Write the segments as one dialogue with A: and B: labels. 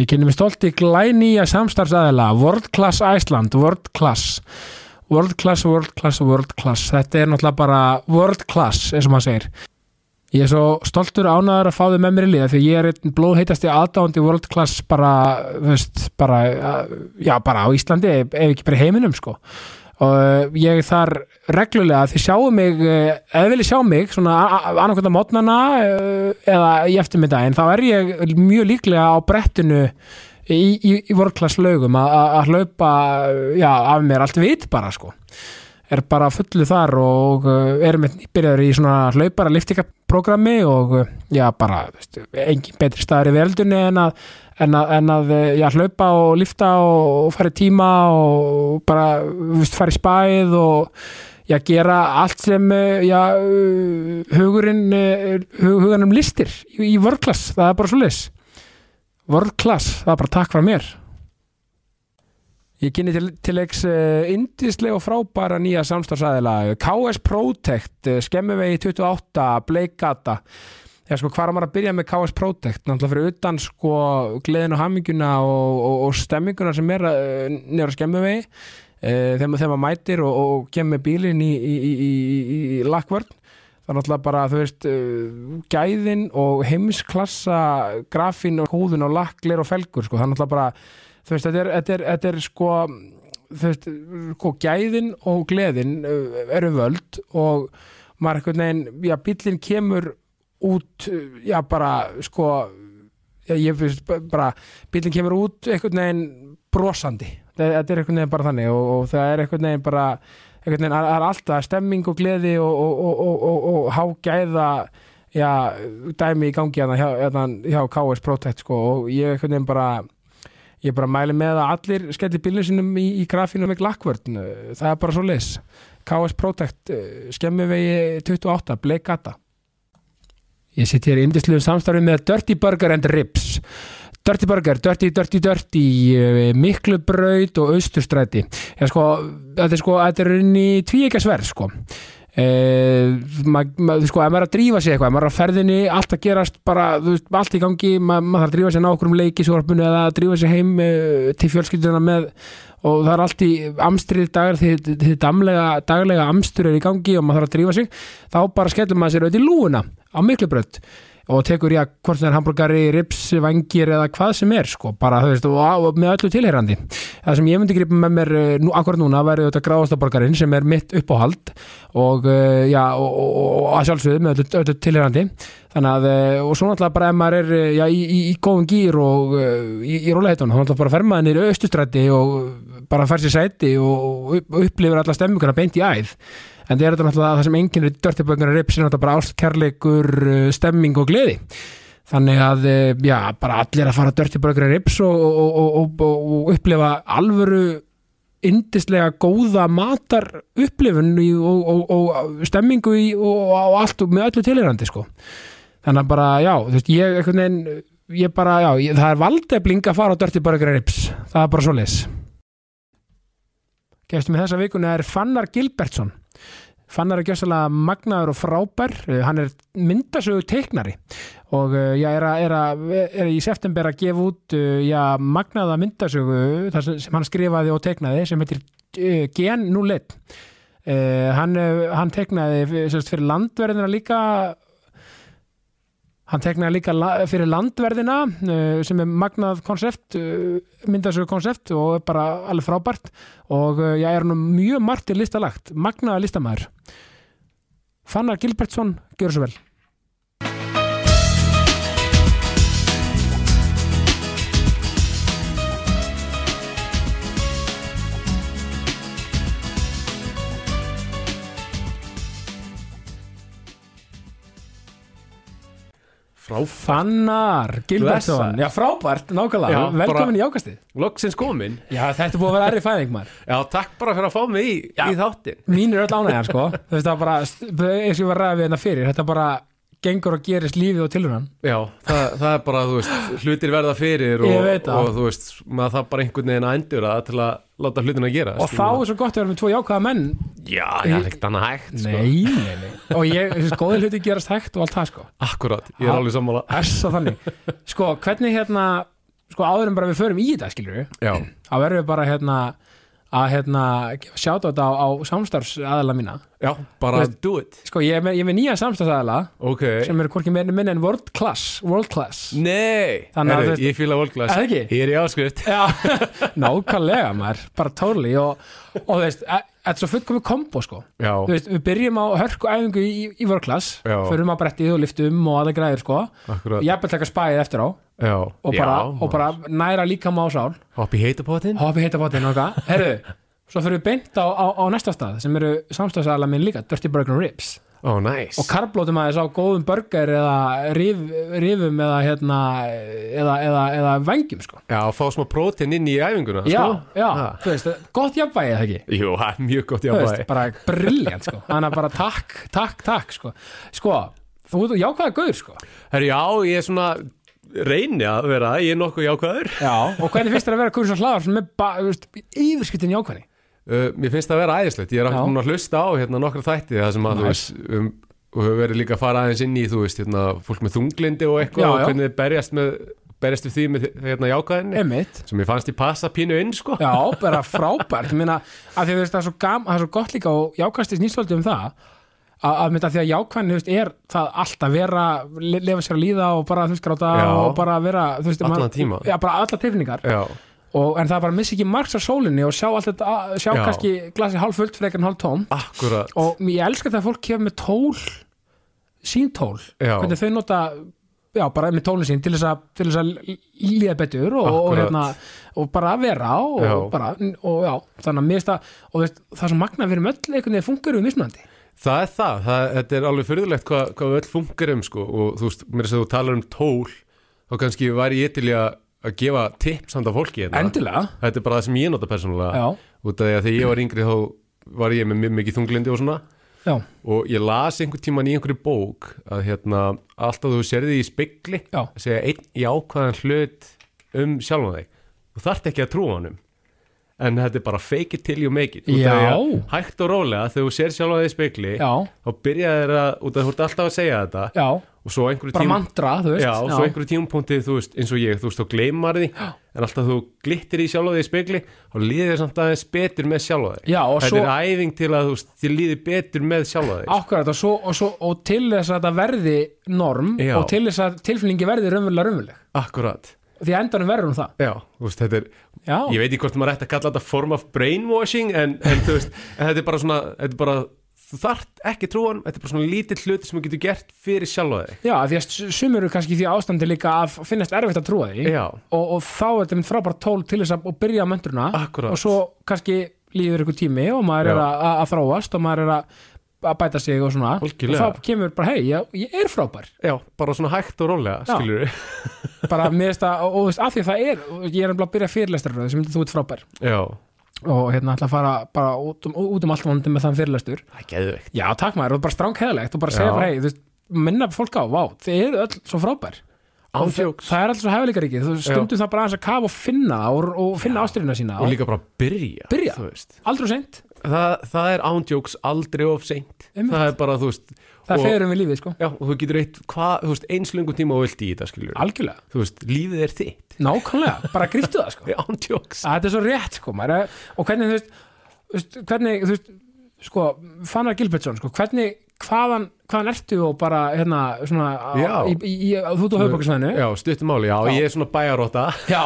A: Ég kynni mig stolti glænýja samstarfsaðila World Class Iceland, World Class World Class, World Class, World Class Þetta er náttúrulega bara World Class eins og maður segir Ég er svo stoltur og ánæður að fá þau með mér í liða því að ég er einn blóðheitasti aðdáandi World Class bara, þú veist, bara uh, já, bara á Íslandi ef ef ekki bara í heiminum, sko og eh, ég er þar reglulega þið sjáu mig, eh, ef þið vilja sjá mig svona annarkvæmt á mótnana eða í eftirmiddaginn, þá er ég mjög líklega á brettinu í, í, í vorklass laugum að- að að hlaupa já, af mér allt vit bara sko er bara fullu þar og uh, erum við byrjaður í svona hlaupara liftikaprógrammi og uh, já bara veist, engin betri staðar í veldunni en að, en að, en að uh, já, hlaupa og lifta og, og fara í tíma og bara veist, fara í spæð og já, gera allt sem uh, já, uh, hugurinn uh, hug, huganum listir í, í vörklass, það er bara svo leis vörklass, það er bara takk frá mér Ég kynni til, til leiks uh, indislega og frábæra nýja samstagsæðila KS Protect, uh, skemmuvegi 28, Bleikata Já sko, hvað er maður að byrja með KS Protect? Náttúrulega fyrir utan sko gleðin og hamminguna og, og, og stemminguna sem er uh, nýra skemmuvegi uh, þegar, ma- þegar maður mætir og, og, og kemur með bílinn í, í, í, í, í, í lakkvörn Það er náttúrulega bara, þú veist, uh, gæðin og heimsklassa grafin og húðun og lakkler og felgur, sko, það er náttúrulega bara þú veist, þetta er, þetta er, þetta er sko þú veist, sko gæðin og gleðin uh, eru völd og maður einhvern veginn já, bíllinn kemur út uh, já, bara, sko já, ég veist, b- bara bíllinn kemur út einhvern veginn brosandi Þe- þetta er einhvern veginn bara þannig og, og það er einhvern veginn bara einhvern veginn, það er alltaf stemming og gleði og, og, og, og, og, og hágæða já, dæmi í gangi hérna hjá, hérna hjá KS Protect sko, og ég einhvern veginn bara ég bara mæli með að allir skelli bílum sínum í, í grafinu með glakkvörn það er bara svo leis KS Protect, eh, skemmivegi 28, bleikata Ég sitt hér í indisluðu samstarfi með Dirty Burger and Ribs Dirty Burger, Dirty, Dirty, Dirty eh, Miklubraut og Austurstræti Já sko, þetta er sko þetta er unni tvíekasverð sko Uh, ma, ma, sko, ef maður er að drífa sig eitthvað ef maður er að ferðinni, allt að gerast bara, þú veist, allt í gangi, ma, maður þarf að drífa sig ná okkur um leikisvorpinu eða að drífa sig heim uh, til fjölskylduna með og það er allt í amstrið dagar því, því damlega, daglega amstur er í gangi og maður þarf að drífa sig þá bara skellur maður sér auðvitað í lúuna á miklu brönd og tekur ég að hvort það er hambúrgari, rips, vangir eða hvað sem er sko, bara þú veist, og, og með öllu tilheyrandi það sem ég myndi gripa með mér eh, nú, akkur núna væri auðvitað gráðastaborgarinn sem er mitt uppáhald og, eh, já, og, og, og, og að sjálfsögðu með öllu, öllu tilheyrandi þannig að, eh, og svo náttúrulega bara ef maður er eh, já, í, í, í góðum gýr og eh, í, í róleitun, þá náttúrulega bara fer maður niður austustræti og bara fær sér sæti og, og upp- upplifir alla stemminguna beint í æð en það er þetta náttúrulega það sem enginn er dörtibönguna rips er náttúrulega bara ást, kærleikur, eh, stemming og gleði þannig að eh, já, bara allir að fara dörtibönguna rips og, og, og, og, og, og upplifa alvöru yndislega góða matar upplifun í, og, og, og stemmingu í, og, og allt og með öllu tilhyrandi sko þannig að bara, já, þú veist, ég einhvern veginn, ég bara, já, ég, það er valdefling að fara á Dirty Burger and Rips það er bara svoleiðis Gestum í þessa vikuna er Fannar Gilbertsson Fannar er gjössalega magnaður og frábær eh, hann er myndasögu teiknari og eh, já, er, að, er, að, er í september að gefa út eh, já, magnaða myndasögu þar sem, sem hann skrifaði og teiknaði sem heitir eh, Gen 01 Uh, hann, eh, hann teiknaði fyrir, sérst, fyrir landverðina líka hann teiknaði líka la, fyrir landverðina uh, sem er magnað konsept uh, myndasögu konsept og er bara alveg frábært og uh, ég er nú mjög margt til listalagt, magnaða listamæður Fannar Gilbertsson gjör svo vel
B: Fráf
A: Fannar Gilbertsson,
B: Blessaður.
A: já frábært, nákvæmlega
B: Já,
A: velkomin
B: bara-
A: í ákastið
B: Loksins komin
A: Já, þetta er búið að vera erri fæðing maður
B: Já, takk bara fyrir að fá mig í,
A: Já.
B: í þáttin
A: Mín er öll ánægjan sko Þú veist það bara, þau- eins og ég var að ræða við hérna fyrir Þetta bara gengur og gerist lífið og tilhunan
B: Já, það, það er bara, þú veist, hlutir verða fyrir og,
A: Ég veit það.
B: og þú veist, maður það bara einhvern veginn að endur að til að láta hlutina að gera
A: Og þá er svo gott að vera með tvo jákvæða menn
B: Já, það er ekkert annað hægt sko.
A: Nei, nei, nei Og ég, þessi góði hluti gerast hægt og allt það sko
B: Akkurát, ég er
A: Ha?
B: alveg sammála
A: Þess að þannig Sko, hvernig hérna sko áður en bara við förum í þetta skilur við
B: já,
A: þá verðum við bara hérna að hérna sjáta þetta á, á samstarfsaðala mína
B: já, bara
A: Veist-
B: do it
A: sko ég er með, ég er með nýja samstarfsaðala
B: ok,
A: sem eru hvorki meira minni en world class world class
B: nei
A: Þannig að
B: Herru,
A: þú veist-
B: ég fíla volglas,
A: Er það ekki?
B: ég er í áskrift
A: Já, nákvæmlega maður, bara tóli og, og þú veist, e- þetta er svo fullkomi kombo sko,
B: já,
A: þú veist, við byrjum á hörkuæfingu í, í vörklass,
B: Já.
A: förum á brettið og liftum og aðeins græður sko,
B: akkurat já,
A: jafnvel taka spæðið eftir á og bara,
B: já,
A: og bara næra líka má sál,
B: hopp í heitapotinn
A: hoppi heita bátinn og eitthvað, herru, svo fyrir við beint á, á, á næsta stað sem eru samstæðsæðala minn líka, Dirty Burger and Ribs
B: ó, næs
A: og karblótum aðeins á góðum burger eða rif, rifum eða hérna, eða, eða, eða vengjum sko.
B: já, fá smá prótin inn í æfinguna
A: Já,
B: sko.
A: já,
B: Ha.
A: þú veist, gott jafnvægi eða ekki
B: jú, það er mjög gott
A: Þú
B: jáfnvægi
A: veist, bara brilljant sko þannig að bara takk, takk, takk sko, sko þú ert jákvæða gaur sko
B: Herru, já, ég er svona reyni að vera, ég er nokkuð jákvæður
A: já. og hvernig finnst þér að vera kursa hlaðar með ba- þú veist, yfirskyttin jákvæðni
B: uh, Mér finnst það að vera æðislegt, ég er
A: Já.
B: akkur núna að hlusta á hérna nokkra þætti það sem að, þú
A: Nice.
B: veist, um, og hefur verið líka að fara aðeins inn í, þú veist, hérna, fólk með þunglindi og eitthvað
A: Já, já.
B: og hvernig þið berjast með, berjast við því með hérna jákvæðinni
A: einmitt
B: sem ég fannst ég passa pínu inn, sko
A: já, bara frábært, ég meina að því að þú veist, það er svo, gam, það er svo gott líka og jákvæðstis nýstöldi um það að, að mynda því að jákvæðni, þú veist, er það allt að vera, le- lefa sér að líða og bara þú veist gráta
B: Já.
A: og bara vera þú veist,
B: Allan
A: maður-
B: tímann.
A: já, bara alla tilfinningar
B: Já,
A: og, en það er bara að missa ekki margs af sólinni og sjá allt þetta, sjá
B: Já.
A: kannski glasið hálf fullt frekar en hálf tóm
B: akkurat
A: og ég elska þegar fólk kemur með tól sín tól
B: Já.
A: hvernig þau nota já, bara með tólin sín til þess að, til þess að líða betur og, og,
B: Akkúrat.
A: hérna, og bara vera og,
B: Já.
A: bara, og já, þannig að mér finnst það og þú veist, það er svo magna að vera með öll einhvern veginn fungur við mismunandi
B: Það er það, það þetta er alveg fyrðulegt hvað, hvað við öll funkar um, sko og þú veist, mér þess að þú talar um tól þá kannski væri ég til í að, að gefa tips handa fólki hérna
A: endilega,
B: Þetta er bara það sem ég nota persónulega
A: já,
B: út af því að þegar ég var yngri þá var ég með mjög mikið þunglindi og svona
A: já,
B: og ég las einhvern tíman í einhverju bók að hérna, alltaf þú sérði í spegli
A: Já.
B: að segja einn jákvæðan hlut um sjálfan þig þú þarft ekki að trúa honum en þetta er bara fake it till you make it Út af því að
A: Já.
B: hægt og rólega þegar þú sér sjálfan þig í spegli
A: já,
B: þá byrjaði þér að, út af því þú ert alltaf að segja þetta
A: já
B: og svo á einhverju
A: bara
B: tíma
A: mantra, þú veist
B: Já, og svo einhverju tímapunkti, þú veist, eins og ég, þú veist, þá gleymar því, en alltaf þú glittir í sjálfa því í spegli og líðir þér samt aðeins betur með sjálfa því.
A: Já, og
B: Þetta
A: svo-
B: er æfing til að þú veist, þið líðir betur með sjálfa því.
A: Akkurat, og, svo, og, svo, og til þess að þetta verði norm
B: Já.
A: og til þess að tilfinningi verði raunverulega raunveruleg
B: Akkurat.
A: því að endanum verður hún það
B: Já, þú veist, þetta er,
A: já,
B: ég veit ekki hvort maður ætti að kalla þetta form of brainwashing, en, en þú veist, en þetta er bara svona, þetta er bara, þú þart ekki trúan, þetta er bara svona lítill hlut sem þú getur gert fyrir sjálfa því.
A: Já, því að sumur eru kannski í því ástandi líka að finnast erfitt að trúa því
B: Já,
A: og, og þá er þetta frábært tól til þess að og byrja mönturna
B: Akkúrat.
A: og svo kannski líður ykkur tími og maður er
B: Já.
A: að, að- að þróast og maður er að, að bæta sig og svona
B: Algjörlega.
A: og þá kemur bara, hei, ég, ég er frábær
B: já, bara svona hægt og rólega,
A: Já.
B: skilur við.
A: bara mér finnst það, og og þú veist, af því það er og ég er nefnilega að byrja fyrirlestur sem þú ert frábær
B: Já,
A: og hérna ætla að fara bara út um, út um allt vandi með þann fyrirlestur
B: það er geðveikt.
A: Já, takk maður, og bara strángheðalegt og bara segja
B: Já.
A: bara, hei, þú veist, minna fólk á, vá, þið eru öll svo frábær
B: Án
A: Og þa-
B: jokes.
A: Það er alls svo hefðalíkaríkið, þú stundum það bara aðeins að kafa og finna það og, og finna ástyrina sína
B: Og líka bara byrja,
A: Byrja.
B: þú veist.
A: Aldrei og seint,
B: það, það er ándjóks aldrei of seint
A: Einmitt.
B: það er bara, þú veist
A: það
B: og,
A: feður um við lífið, sko
B: já, og þú getur eitt hva, þú veist, eins lengur tíma og vilt í þetta skilur
A: Algjörlega,
B: þú veist, lífið er þitt
A: nákvæmlega, bara gríftu það, sko
B: Það er ándjóks
A: Að Þetta er svo rétt, sko, maður er- og hvernig, þú veist, þú veist, hvernig, þú veist, sko, Fannar Gilbertsson, sko, hvernig, hvaðan, hvaðan ertu og bara, hérna, svona, á-
B: Já.
A: í, í, í, þú ert á höfbókisvæðinu
B: já, stuttum máli, já,
A: Já.
B: ég er svona bæjaróta
A: Já,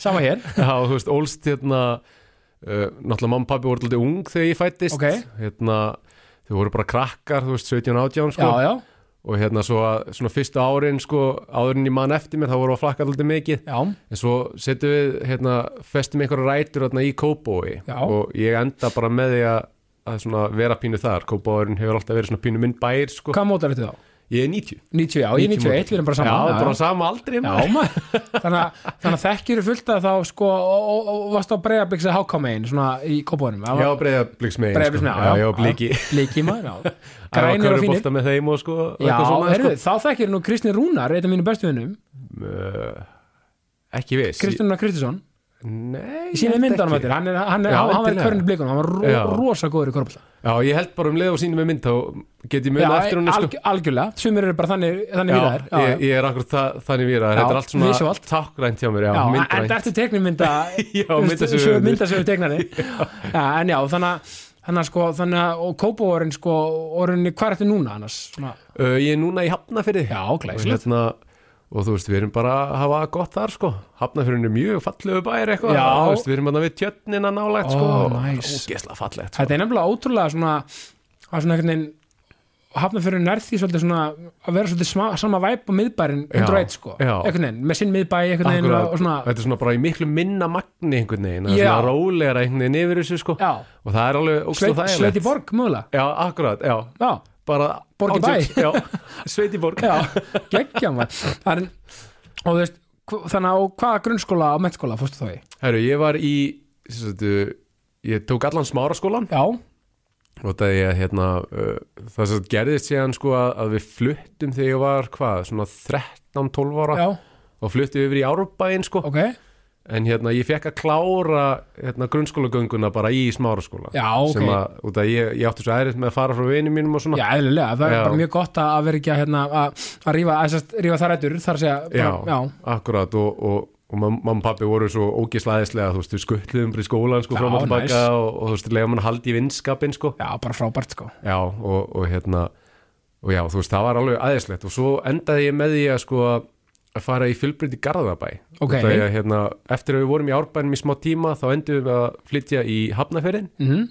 A: sama hér
B: já, þú veist, ólst hérna uh, náttúrulega mamma og pabbi voru alltaf ung þegar ég fættist
A: Ok.
B: hérna, þau voru bara krakkar, þú veist, 17-18 sko.
A: Já, já,
B: og hérna svo að svona fyrstu árin sko, áðurinn í mann eftir mér, þá voru að flakka alltaf mikið
A: já
B: En svo setjum við, hérna, festum einhverja rætur hérna, í Kóbói
A: Já.
B: og ég enda bara með því að, að svona, vera pínu þar. Kóbóin hefur alltaf verið svona pínu minn bæir, sko.
A: Hvað mótar þetta þá?
B: Ég er 90.
A: 90, já, ég er
B: 90
A: 91, við erum bara saman
B: Já, bara sama aldrei.
A: Já, maður Þannig að, þannig að þekkjur fullt að þá sko, og, og, og varst á breyðabliks að háká megin svona í kópunum
B: Já, breyðabliks með.
A: breyðabliks
B: sko.
A: megin
B: Já, já, bliki.
A: Bliki maður, já
B: Grænir
A: Grænir og fínir
B: með þeim og sko.
A: Já,
B: eitthvað svona, sko.
A: heyrðu, þá þekkjur nú Kristni Rúnar, eitt af mínu bestu vinnum
B: Sko. Uh, ekki viss.
A: Kristni Rúnar Kristinsson
B: Nei, ég
A: Sýnir
B: held
A: myndanum
B: ekki.
A: eftir, hann, er, hann, er,
B: Já,
A: hann, hann var í
B: endilega.
A: körnum blikunum, hann var ro,
B: Já.
A: rosa góður í korfbólta
B: Já, ég held bara um leið og sínum með mynd þá get ég muna eftir hún sko.
A: alg, algjörlega, sumir eru bara þannig, þannig
B: Já,
A: víðaðir
B: ég, ég er akkur það, þannig
A: Já,
B: víraðar Þetta er allt svona
A: visualt.
B: tákrænt hjá mér Já,
A: já, en
B: myndrænt
A: eftir teknimynda
B: Já, myndasögu höfundur.
A: myndasögu teknari já, en já, þannig að þannig að sko, þannig að, og kópóorinn sko, orðinni, hvað ertu núna annars? Svona,
B: Ö, Uh, Ég er núna í Hafnafyrði
A: já,
B: og,
A: glæsilegt
B: hérna, og þú veist, við erum bara að hafa gott þar sko. Hafnafyrðin er mjög fallegu bæri eitthvað
A: Já.
B: Þú veist, Við erum að við tjötnina nálægt sko,
A: Ó,
B: og
A: nice.
B: Ógeðslega fallegt sko.
A: þetta er nefnilega ótrúlega svona, að svona einhvern veginn hafna fyrir nær því svolítið svona að vera svolítið sma, sama væp og miðbærin
B: Já,
A: undir eitt sko,
B: já.
A: einhvern veginn, með sinn miðbæ einhvern veginn
B: Akkurat,
A: og og svona,
B: Þetta er svona bara í miklu minna magni einhvern veginn, það er
A: Já.
B: svona rólegra einhvern veginn yfir þessu sko.
A: já,
B: og það er alveg ógeðslega
A: sveit,
B: þægilegt
A: sveit í borg mögulega,
B: Já, akkurat, já
A: já,
B: bara
A: Borg í
B: ándjóks, já, Sveitiborg
A: já geggja maður, það er og þú veist, hv- þannig að og hvaða grunnskóla og mentskóla fórstu þá í?
B: Herru, ég var í sem sagt, uh, ég tók allan smáraskólan
A: Já,
B: og það ég hérna uh, það sem sagt gerðist síðan sko að, að við fluttum þegar ég var hvað, svona 13-12 ára
A: já,
B: og fluttum yfir í Árbæinn sko
A: ok
B: en hérna ég fekk að klára hérna, grunnskólagönguna bara í smáraskóla
A: Já, ok.
B: sem að, út að ég, ég átti svo ærið með að fara frá vinum mínum og svona
A: Já, eðlilega, það
B: Já.
A: er bara mjög gott að að vera ekki að, hérna, að, að rífa, að, sérst, rífa þar eittur þar að segja, bara,
B: já, akkurat og, og, og mam- mamma og pappi voru svo ógislæðislega þú veist, við skutluðum bara í skólan sko,
A: Já,
B: fram og tilbaka
A: nice.
B: og, og þú veist, lega mann haldi í vinskapin sko.
A: já, já, bara frábært sko
B: já, og, og hérna og já, þú veist, það var alveg aðeinslegt og svo endaði ég með því að sko að fara í fjölbryti Garðabæ
A: Ok.
B: Út af því að, hérna, eftir að við vorum í árbænum í smá tíma þá endum við að flytja í Hafnaferinn
A: mm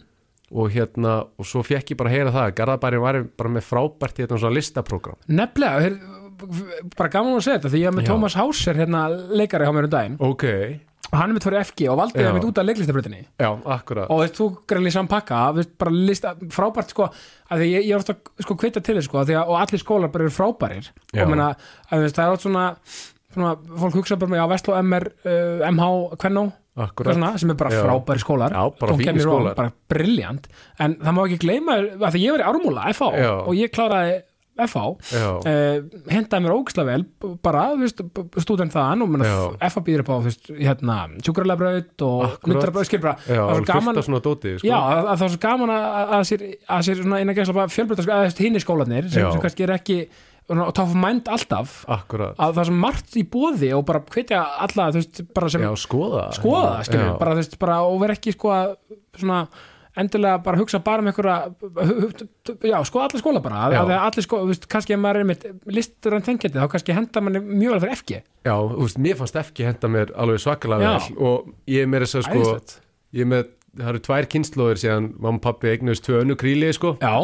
B: og hérna, og svo fekk ég bara að heyra það að Garðabærin var bara með frábært hérna svona listaprógram
A: Nefnilega, hér, bara gaman að segja þetta því ég var með
B: Já.
A: Thomas Hauser hérna leikari hjá mér um daginn
B: ok,
A: og hann er mitt fyrir FG og valdi
B: Já.
A: það mitt út af leiklistabröðinni
B: já, akkurat
A: og veist, þú greinlega saman pakka veist, bara lista, frábært sko að því ég, ég er ofta sko kvita til þess sko af því að, og allir skólar bara eru frábærir
B: Já.
A: og meina, að, veist, það er átt svona, svona fólk hugsa bara með á Vestló MR, uh, MH, Kvennó
B: akkurat,
A: svona, sem er bara
B: Já.
A: frábæri skólar
B: Já, bara
A: Don't get me
B: fínir
A: wrong,
B: skólar.
A: bara briljant en það má ekki gleyma, af því ég var í ármúla FH
B: Já.
A: og ég kláraði FH
B: já
A: uh, hendaði mér ógislega vel b- bara, þú veist, b- stúdent þaðan og menna,
B: Já.
A: F.A. býður upp á, þú veist, hérna sjúkrarlegabraut og
B: Akkurat.
A: nutrabraut, skil bara
B: Já,
A: Eh, það var
B: alveg
A: svo gaman,
B: fullt af svona dótið sko.
A: já, að, að það var svo gaman að, að- að sér, að sér svona innan gæsla bara fjölbreyta, sko, að hinn í skólanir sem,
B: Já.
A: sem kannski er ekki, og tóf mænd alltaf,
B: Akkurat
A: að það er svo margt í bóði og bara hvetja alla, þú veist, bara sem
B: Já, skoða
A: skoða það, skilur,
B: Já.
A: Sko, bara þú veist, bara og vera ekki sko að svona endilega bara hugsa bara um einhverja já, skoða alla skóla bara að
B: Já.
A: að allir skóla, þú veist, kannski ef maður er mitt listur en þengjandi, þá kannski henda manni mjög alveg fyrir FG,
B: Já, þú veist, mér fannst ekki henda mér alveg svakalega
A: Já.
B: vel og ég er meira þess að sko
A: æðislegt
B: ég er með, það eru tvær kynnslóðir síðan mamma og pappi eignuðist tvö önnu kríli sko
A: Já,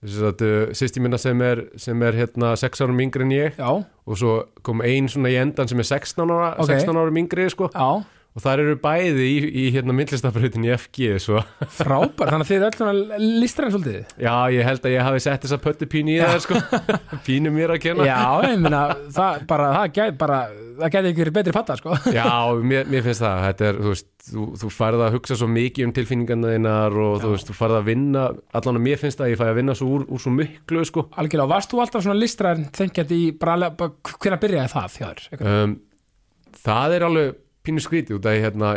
B: þess að uh, sýsti minna sem er sem er hérna sex árum yngri en ég
A: já,
B: og svo kom ein svona í endan sem er 16 ára,
A: Ok.
B: 16 árum yngri sko
A: já
B: og þar eru bæði í, í hérna myndlistabrautin í FG svo
A: frábært, þannig að þið öll svona listur en svolítið
B: Já, ég held að ég hafi sett þessa pöttu pínu í það sko pínu mér að kenna
A: Já, ég meina, það bara, það gæti bara það gæti ekki verið betri patta, sko
B: Já, mér, mér finnst það, þetta er, þú veist, þú, þú færð að hugsa svo mikið um tilfinningarna þínar og þú veist, þú færð að vinna, allan að mér finnst það að ég fæ að vinna svo úr, úr svo miklu, sko.
A: Algjörlega, og varst þú alltaf svona listræn þengjandi í bara, alveg- bara hvernig byrjaði það þjóður?
B: Um, það er alveg pínu skrítið út af, því, hérna,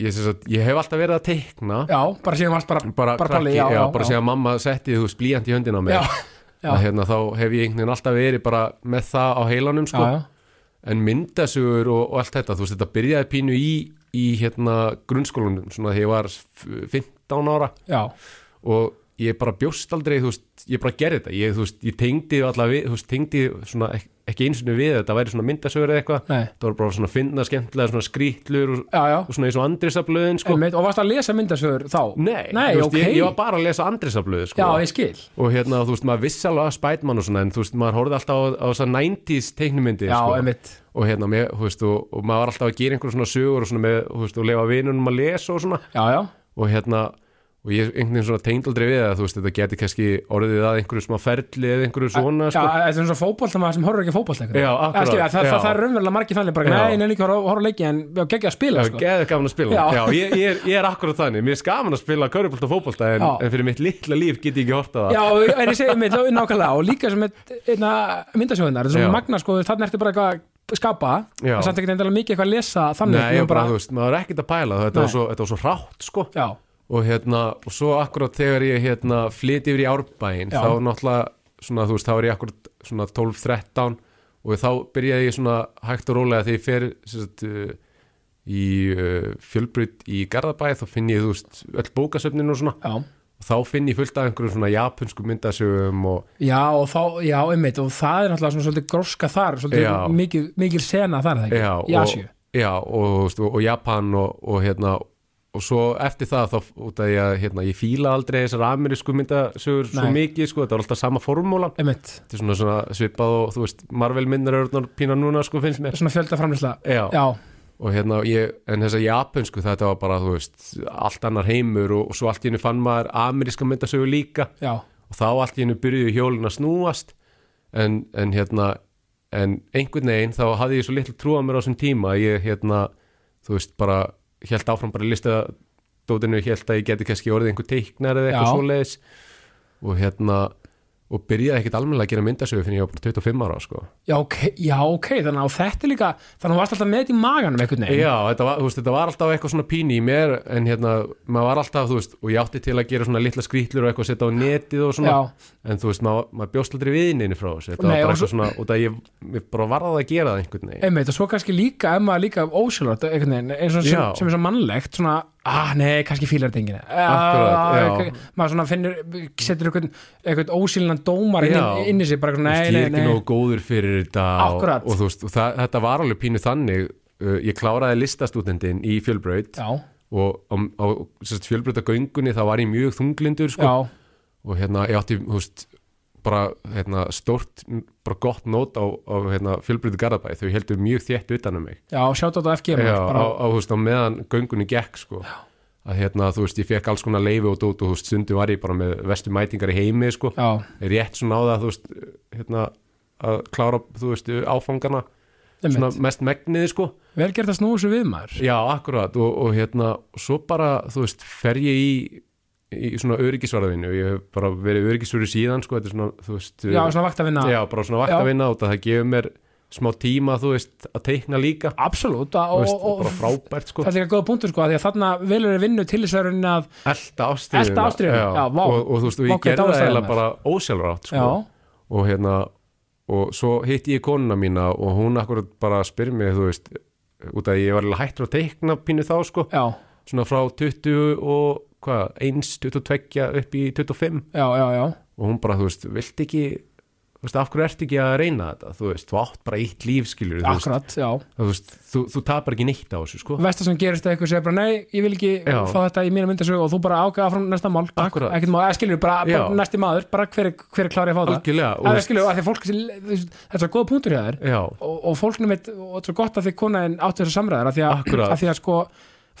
B: ég, sem sagt, ég hef alltaf verið að teikna,
A: Já, bara síðan varst bara,
B: bara,
A: palli,
B: krakki,
A: já, já,
B: bara
A: já.
B: sem að mamma setti, þú veist, blíjandi í höndina á mér.
A: Já, já.
B: Að, hérna, þá hef ég einhvern veginn alltaf verið bara með það á heilanum, sko.
A: já, já.
B: en myndasugur og, og allt þetta þú veist þetta byrjaði pínu í, í hérna, grunnskólanum svona þegar ég var f- 15 ára
A: Já,
B: og ég bara bjóst aldrei þú veist, ég bara gerði þetta ég, þú veist, ég tengdi allavega þú veist, tengdi svona ek- ekki eins og við þetta væri svona myndasugur eða eitthvað
A: nei,
B: það var bara svona finna skemmtilega svona skrítlur og,
A: já, já
B: og svona eins og andrisablöðin sko.
A: Einmitt, Og varst að lesa myndasögur þá?
B: nei,
A: Nei,
B: þú veist,
A: ok.
B: ég, ég var bara að lesa andrisablöði
A: Já,
B: sko.
A: ég skil
B: og hérna þú veist maður vissi alveg að Spiderman og svona en þú veist maður horfði alltaf á, á þessar 90s teiknumyndi
A: Já,
B: sko
A: einmitt
B: og hérna mér, þú veist, og, og maður var alltaf að gera einhverjum svona sögur og svona með, þú veist, og lefa vinunum að lesa og svona,
A: Já, já,
B: og hérna og ég einhvern veginn svona tengdaldri við það, þú veist, þetta geti kannski orðið að einhverju smá ferli eða einhverju svona,
A: já
B: sko.
A: þetta er svona fótbolta maður sem horfir ekki fótbolta einhvern
B: Já,
A: veginn.
B: akkurat,
A: skil, það, það,
B: já.
A: það, það er raunverulega margir þannig bara,
B: Já.
A: nei, neina ekki horfa horf leiki en já, geggja að spila,
B: Já,
A: sko
B: geðu gaman að spila, já,
A: Já.
B: ég, ég, er, ég er akkurat þannig mér er skaman að spila körfubolt og fótbolta en,
A: Já.
B: en fyrir mitt litla líf get ég ekki horta það
A: Já, en ég segi, einmitt, nákvæmlega og líka sem með myndarsögunar, þetta er
B: Já.
A: svona magna, sko, þannig ertu bara eitthvað að skapa
B: Já.
A: en samt ekkert endilega mikið eitthvað að lesa þannig
B: Nei,
A: ég
B: ég bara, þú
A: bara,
B: veist, maður er ekkert að pæla þetta var,
A: Nei.
B: svo, þetta var svo rátt, sko
A: já,
B: og hérna, og svo akkurat þegar ég hérna flyt yfir í árbæin,
A: Já.
B: þá náttúrulega svona, þú veist, þá er ég akkurat svona 12-13 og þá byrjaði ég svona hægt og rólega þegar ég fer sem sagt, uh, í uh, fjölbrut í Garðabæ, þá finn ég, þú veist, öll bókasöfnin og svona
A: já
B: og þá finn ég fullt af einhverjum svona japansku myndasögum og
A: Já, og þá, já, einmitt, og það er náttúrulega svona svolítið gróska þar,
B: Já.
A: svolítið mikil, mikil sena þar, er það ekki,
B: já,
A: í
B: og,
A: Asju
B: já, og, þú veist, og, og Japan og, og hérna og svo eftir það þá út að ég, hérna, ég fíla aldrei þessar amerísku myndasögur svo
A: Nei.
B: mikið, sko, þetta var alltaf sama formúlan
A: einmitt,
B: þetta er svona, svona svipað og þú veist Marvel myndar örðnar pína núna, sko, finnst mér
A: svona fjöldaframlisla
B: já,
A: Já,
B: og hérna, ég, en þessar japansku þetta var bara, þú veist, allt annar heimur og, og svo allt í henni fann maður ameríska myndasögur líka
A: já,
B: og þá allt í hennu byrjuðu hjólin að snúast en, en hérna en einhvern veginn þá hafði ég svo litlu trúa mér á þessum tíma að ég hérna þú veist bara, held áfram bara lista dótinu, held að ég geti kannski orðið einhver teiknar eða eitthvað
A: Já.
B: svoleiðis og hérna og byrjaði ekkit almennilega að gera myndasögu fyrir ég var bara 25 ára sko.
A: já, ok, já, ok, þannig að þetta er líka, þannig að varst alltaf með þetta í maganum einhvern veginn
B: Já, þetta var, þú veist, þetta var alltaf eitthvað svona pín í mér en hérna, maður var alltaf, þú veist og ég átti til að gera svona litla skrýtlur og eitthvað setja á netið og svona
A: Já,
B: en þú veist, maður, maður bjóst aldrei viðinni frá þessu, þetta
A: Nei,
B: var
A: og
B: bara
A: svo-
B: eitthvað svona út að ég, ég bara varðað að gera það einhvern veginn
A: einmitt, og svo kannski líka, ef maður líka ósjálfrátt, einhvern veginn, eins og sem,
B: Já.
A: sem er svo mannlegt, svona, ah, nei, kannski fílar þetta enginn Ah,
B: Akkurat, já.
A: Maður svona finnur, setur einhvern, einhvern ósýlinan dómar inn,
B: Já.
A: inn í sig, bara
B: Þú
A: svona, nei,
B: veist, ég er
A: nei,
B: ekki
A: nei
B: nógu góður fyrir þetta
A: Akkúrat.
B: og, og þú veist, og það, þetta var alveg pínu þannig uh, ég kláraði listastúdendin í fjölbraut
A: Já,
B: og á, á fjölbrauta göngunni þá var ég mjög þunglindur sko,
A: já,
B: og hérna, ég átti, þú veist bara, hérna, stórt, bara gott nót á, á hérna, fjölbrautu Garðabæ þau heldur mjög þétt utan um mig
A: já, sjátt á þetta FG
B: Já,
A: maður, bara,
B: á, á, þú veist, á meðan göngunni gekk sko. að hérna, þú veist, ég fekk alls konar leifi og dót og þú veist, sundum var ég bara með vestu mætingar í heimi, sko,
A: já,
B: rétt svona á það þú veist, hérna að klára, þú veist, áfangana
A: einmitt
B: svona mest megniði, sko
A: Vel gert að snúa þessu við maður
B: já, akkurat, og, og hérna svo bara, þú veist, fer ég í í svona öryggisvarðinu ég hef bara verið öryggisvöru síðan, sko þetta er svona, þú veist,
A: Já, svona vakt að vinna
B: já, bara svona vakt að vinna og það gefur mér smá tíma, þú veist, að teikna líka
A: Absolutt að-
B: þú
A: og,
B: veist,
A: og,
B: bara
A: og
B: frábært, sko
A: það er líka góða punktur sko af Því að þarna velur er vinnu til þess að raunin að
B: Elta ástriðuna
A: Elta ástríðuna, já, vá.
B: og, og þú veist, og
A: Vá,
B: ég
A: hvað
B: gerði
A: dáist
B: það
A: að
B: eiginlega
A: hennar.
B: bara ósjálfrátt sko.
A: Já,
B: og hérna og svo hitti ég konuna mína og hún akkurat bara spyr mig, þú veist út að ég var alveg hættur að teikna pínu þá sko,
A: já,
B: svona frá 20 og hvað, 1, 22 upp í 25
A: já, já, já
B: og hún bara, þú veist, vilt ekki þú veist, af hverju ert ekki að reyna þetta þú veist, þú átt bara eitt líf skilur þú veist,
A: Akkurat, já
B: þú, veist þú, þú tapar ekki neitt á þessu sko
A: Vesta sem gerist að eitthvað segja bara Nei, ég vil ekki
B: Já.
A: fá þetta í mína myndasögu Og þú bara ákveða áfram næsta mál takk,
B: Akkurat.
A: Ekkert mál, eða skilur, bara, bara
B: Já.
A: næsti maður Bara hver, hver er klárið að fá það
B: algjörlega,
A: Eða
B: og þú veist,
A: skilur, af því að fólk Þetta er svo góða punktur hjá þér
B: já,
A: og, og fólknum veit, og þetta er svo gott að því konaðin áttu þessar samræðar af því að,
B: Akkurat.
A: að, því að sko,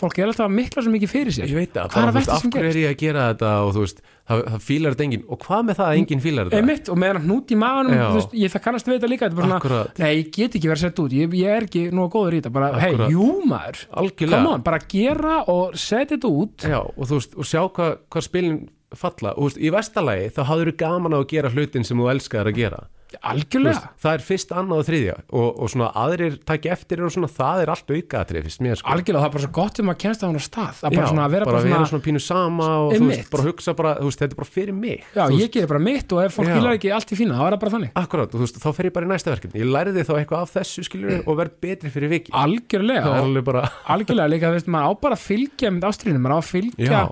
A: fólk er alltaf að mikla svo mikið fyrir sér
B: ég veit
A: Hvað er
B: það, bara,
A: að
B: þú veist,
A: versta
B: af
A: sem
B: hverju er ég að gera þetta og þú veist, það, það fílar þetta enginn og hvað með það að enginn fílar þetta
A: Mm. einmitt, og meðan hnút í maganum
B: Já.
A: þú veist, ég það kannast við þetta líka þetta er bara svona,
B: Akkurat.
A: nei, ég get ekki verið að setja út ég, ég er ekki nóg góður í þetta, bara, hei,
B: Akkurat.
A: jú maður come
B: algjörlega,
A: on, bara gera og setja þetta út
B: já, og þú veist og sjá hvað hva spilin falla og þú veist, í vestalagi þá hafður þú gaman á að gera hlutin sem þú elskaðar að gera Þú
A: algjörlega,
B: veist, það er fyrst annað og þriðja og, og svona aðrir takja eftir og svona það er allt aukaðatrið fyrst mér sko
A: algjörlega, það er bara svo gott um að kennst það hún á stað, að bara svona að vera
B: bara,
A: bara, svona,
B: pínu sama og þú
A: Einmitt.
B: veist, bara hugsa bara, þú veist, þetta er bara fyrir mig
A: já,
B: Þú veist,
A: ég gerir bara mitt og ef fólk
B: Já.
A: hýlar ekki allt í fína, þá er það bara þannig
B: akkurat, og þú veist, þá fer ég bara í næsta verkefni ég læriði þá eitthvað af þessu skilur og verð betri fyrir viki
A: algjörlega,
B: það er
A: og
B: alveg bara
A: algjörlega líka, þú veist, maður á bara að fylgja mynd ástríðinu, maður á að fylgja
B: Já.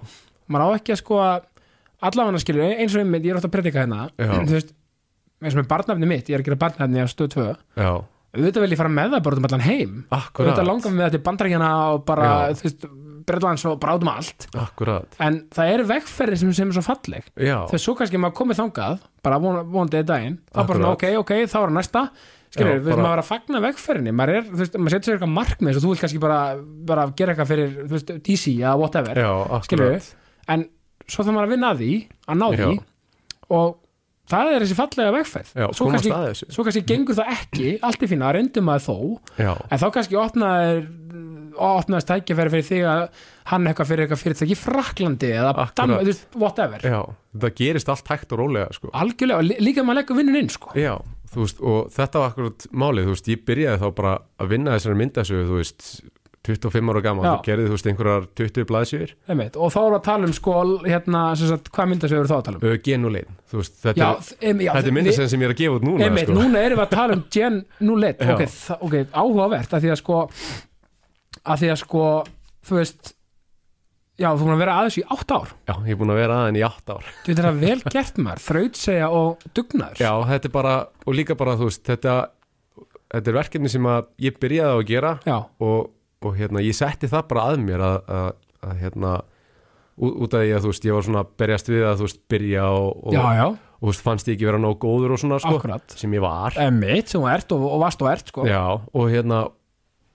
A: maður á ekki að sko að allavega skilur, eins og einmitt, ég er ofta að predika hérna
B: Já.
A: þú veist, eins og með barnafni mitt ég er að gera barnafni á stöð 2
B: Já,
A: auðvitað vil ég fara með það bara út um allan heim
B: akkurat,
A: auðvitað langar mig með þetta í bandaríkjana og bara,
B: Já.
A: þú veist, Bretlands og bara út um allt
B: akkurat.
A: en það eru vegferði sem, sem er svo falleg
B: Já,
A: þegar svo kannski maður komið þangað bara von- vonandi eða daginn, þá bara svona,
B: Akkurat.
A: ok, ok, þá er næsta skilur,
B: Já,
A: við veist,
B: bara-
A: maður er að fagna vegferðinni maður, er, þú veist, maður setur sér eitthvað markmið svo þú vilt kannski bara, bara gera eitthvað fyrir þú veist, DC eða whatever
B: já, akkurat.
A: skilur en svo þarf maður að vinna að því að ná því og það er þessi fallega vegferð
B: Já,
A: svo,
B: komast
A: kannski,
B: að þessu.
A: svo kannski gengur það ekki allt í fína, reyndum maður þó
B: Já,
A: en þá kannski opnaðir opnaðist tækifæri fyrir þig að hann eitthvað fyrir eitthvað fyrirtæki í Fraklandi eða
B: Akkurat.
A: Danmark, þú veist, whatever
B: já, það gerist allt hægt og rólega, sko.
A: algjörlega, og lí- líka að maður leggur vinnun inn sko.
B: Já, þú veist, og þetta var akkurat málið, þú veist, ég byrjaði þá bara að vinna þessari myndasögu, þú veist 25 ára gaman,
A: Já.
B: þú gerði, þú veist, einhverjar 20 blaðsjöfur,
A: einmitt, og þá erum við að tala um sko hérna, sem sagt, hvað myndasögur eru þá að tala um
B: genulegin, þú veist, þetta
A: já,
B: er,
A: em, já,
B: þetta er
A: við-
B: myndasögn sem ég er að gefa út núna, sko.
A: Einmitt, núna erum við að tala um Gen Nulet
B: Já.
A: ok, þa- ok, áhugavert að því að sko að því að sko, þú veist já, þú múin að vera aðeins í átt ár
B: Já, ég er búin að vera aðeins í 8 ár
A: þú veit það vel gert maður, þrautseja og dugnaður
B: Já, þetta er bara, og líka bara, þú veist, þetta, þetta er verkefni sem að ég byrjaði á að gera
A: já,
B: og, og hérna, ég setti það bara að mér að, að, að hérna, ú- út af því að, þú veist, ég var svona að berjast við að, þú veist, byrja og, og,
A: já, já,
B: og þú veist, fannst ég ekki vera nóg góður og svona, sko,
A: Akkurat.
B: sem ég var.
A: emmitt sem þú ert og, og varst og ert sko
B: Já, og hérna,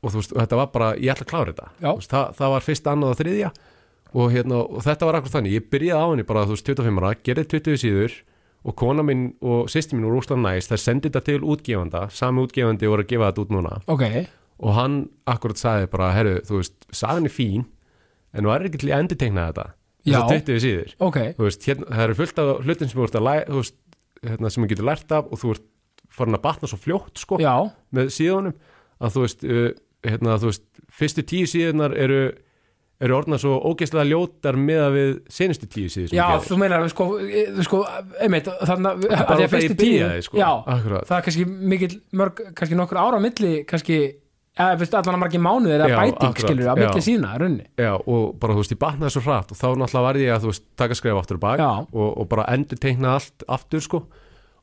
B: og þú veist, og þetta var bara, ég ætla að klára þetta.
A: Já.
B: Þú Veist, það, það var fyrst, annað og þriðja og hérna, og þetta var akkur þannig, ég byrjaði á henni bara, þú veist, 25 ára, gerði 20 síður og kona minn og sýsti minn voru úrslega næst, þær sendi þetta til útgefanda, sami útgefandi voru að gefa þetta út núna
A: ok,
B: og hann akkurat sagði bara, herru, þú veist, sagan er fín, en þú er ekki til í að endurtegna þetta,
A: Já.
B: þessar 20 síður
A: ok
B: þú veist, hérna, það eru fullt af hlutin sem þú ert að læ, þú veist, hérna, sem þú getur lært af og þú ert farin að batna svo fljótt sko,
A: já,
B: með síðunum að þú veist, uh, hérna, þú veist fyrstu tíu síðunar eru eru orðna svo ógeðslega ljótar með að við senustu tíu síður sem
A: já,
B: ég gerði.
A: þú meinar sko, e, sko einmitt, þannig að- að því
B: bara
A: að
B: þegar
A: fyrstu
B: ég
A: tíu
B: byrjaði sko.
A: já,
B: Akkurat.
A: það er kannski mikill mörg, kannski nokkur ára á milli, kannski eða, veist, allan að margir mánuðir eða
B: Já,
A: bæting
B: akkurat,
A: skilur á milli
B: já.
A: sína, runni
B: Já, og bara þú veist, ég batnaði svo hratt og þá náttúrulega varði ég að þú veist, taka skref aftur og bak
A: Já.
B: og, og bara endur teikna allt aftur sko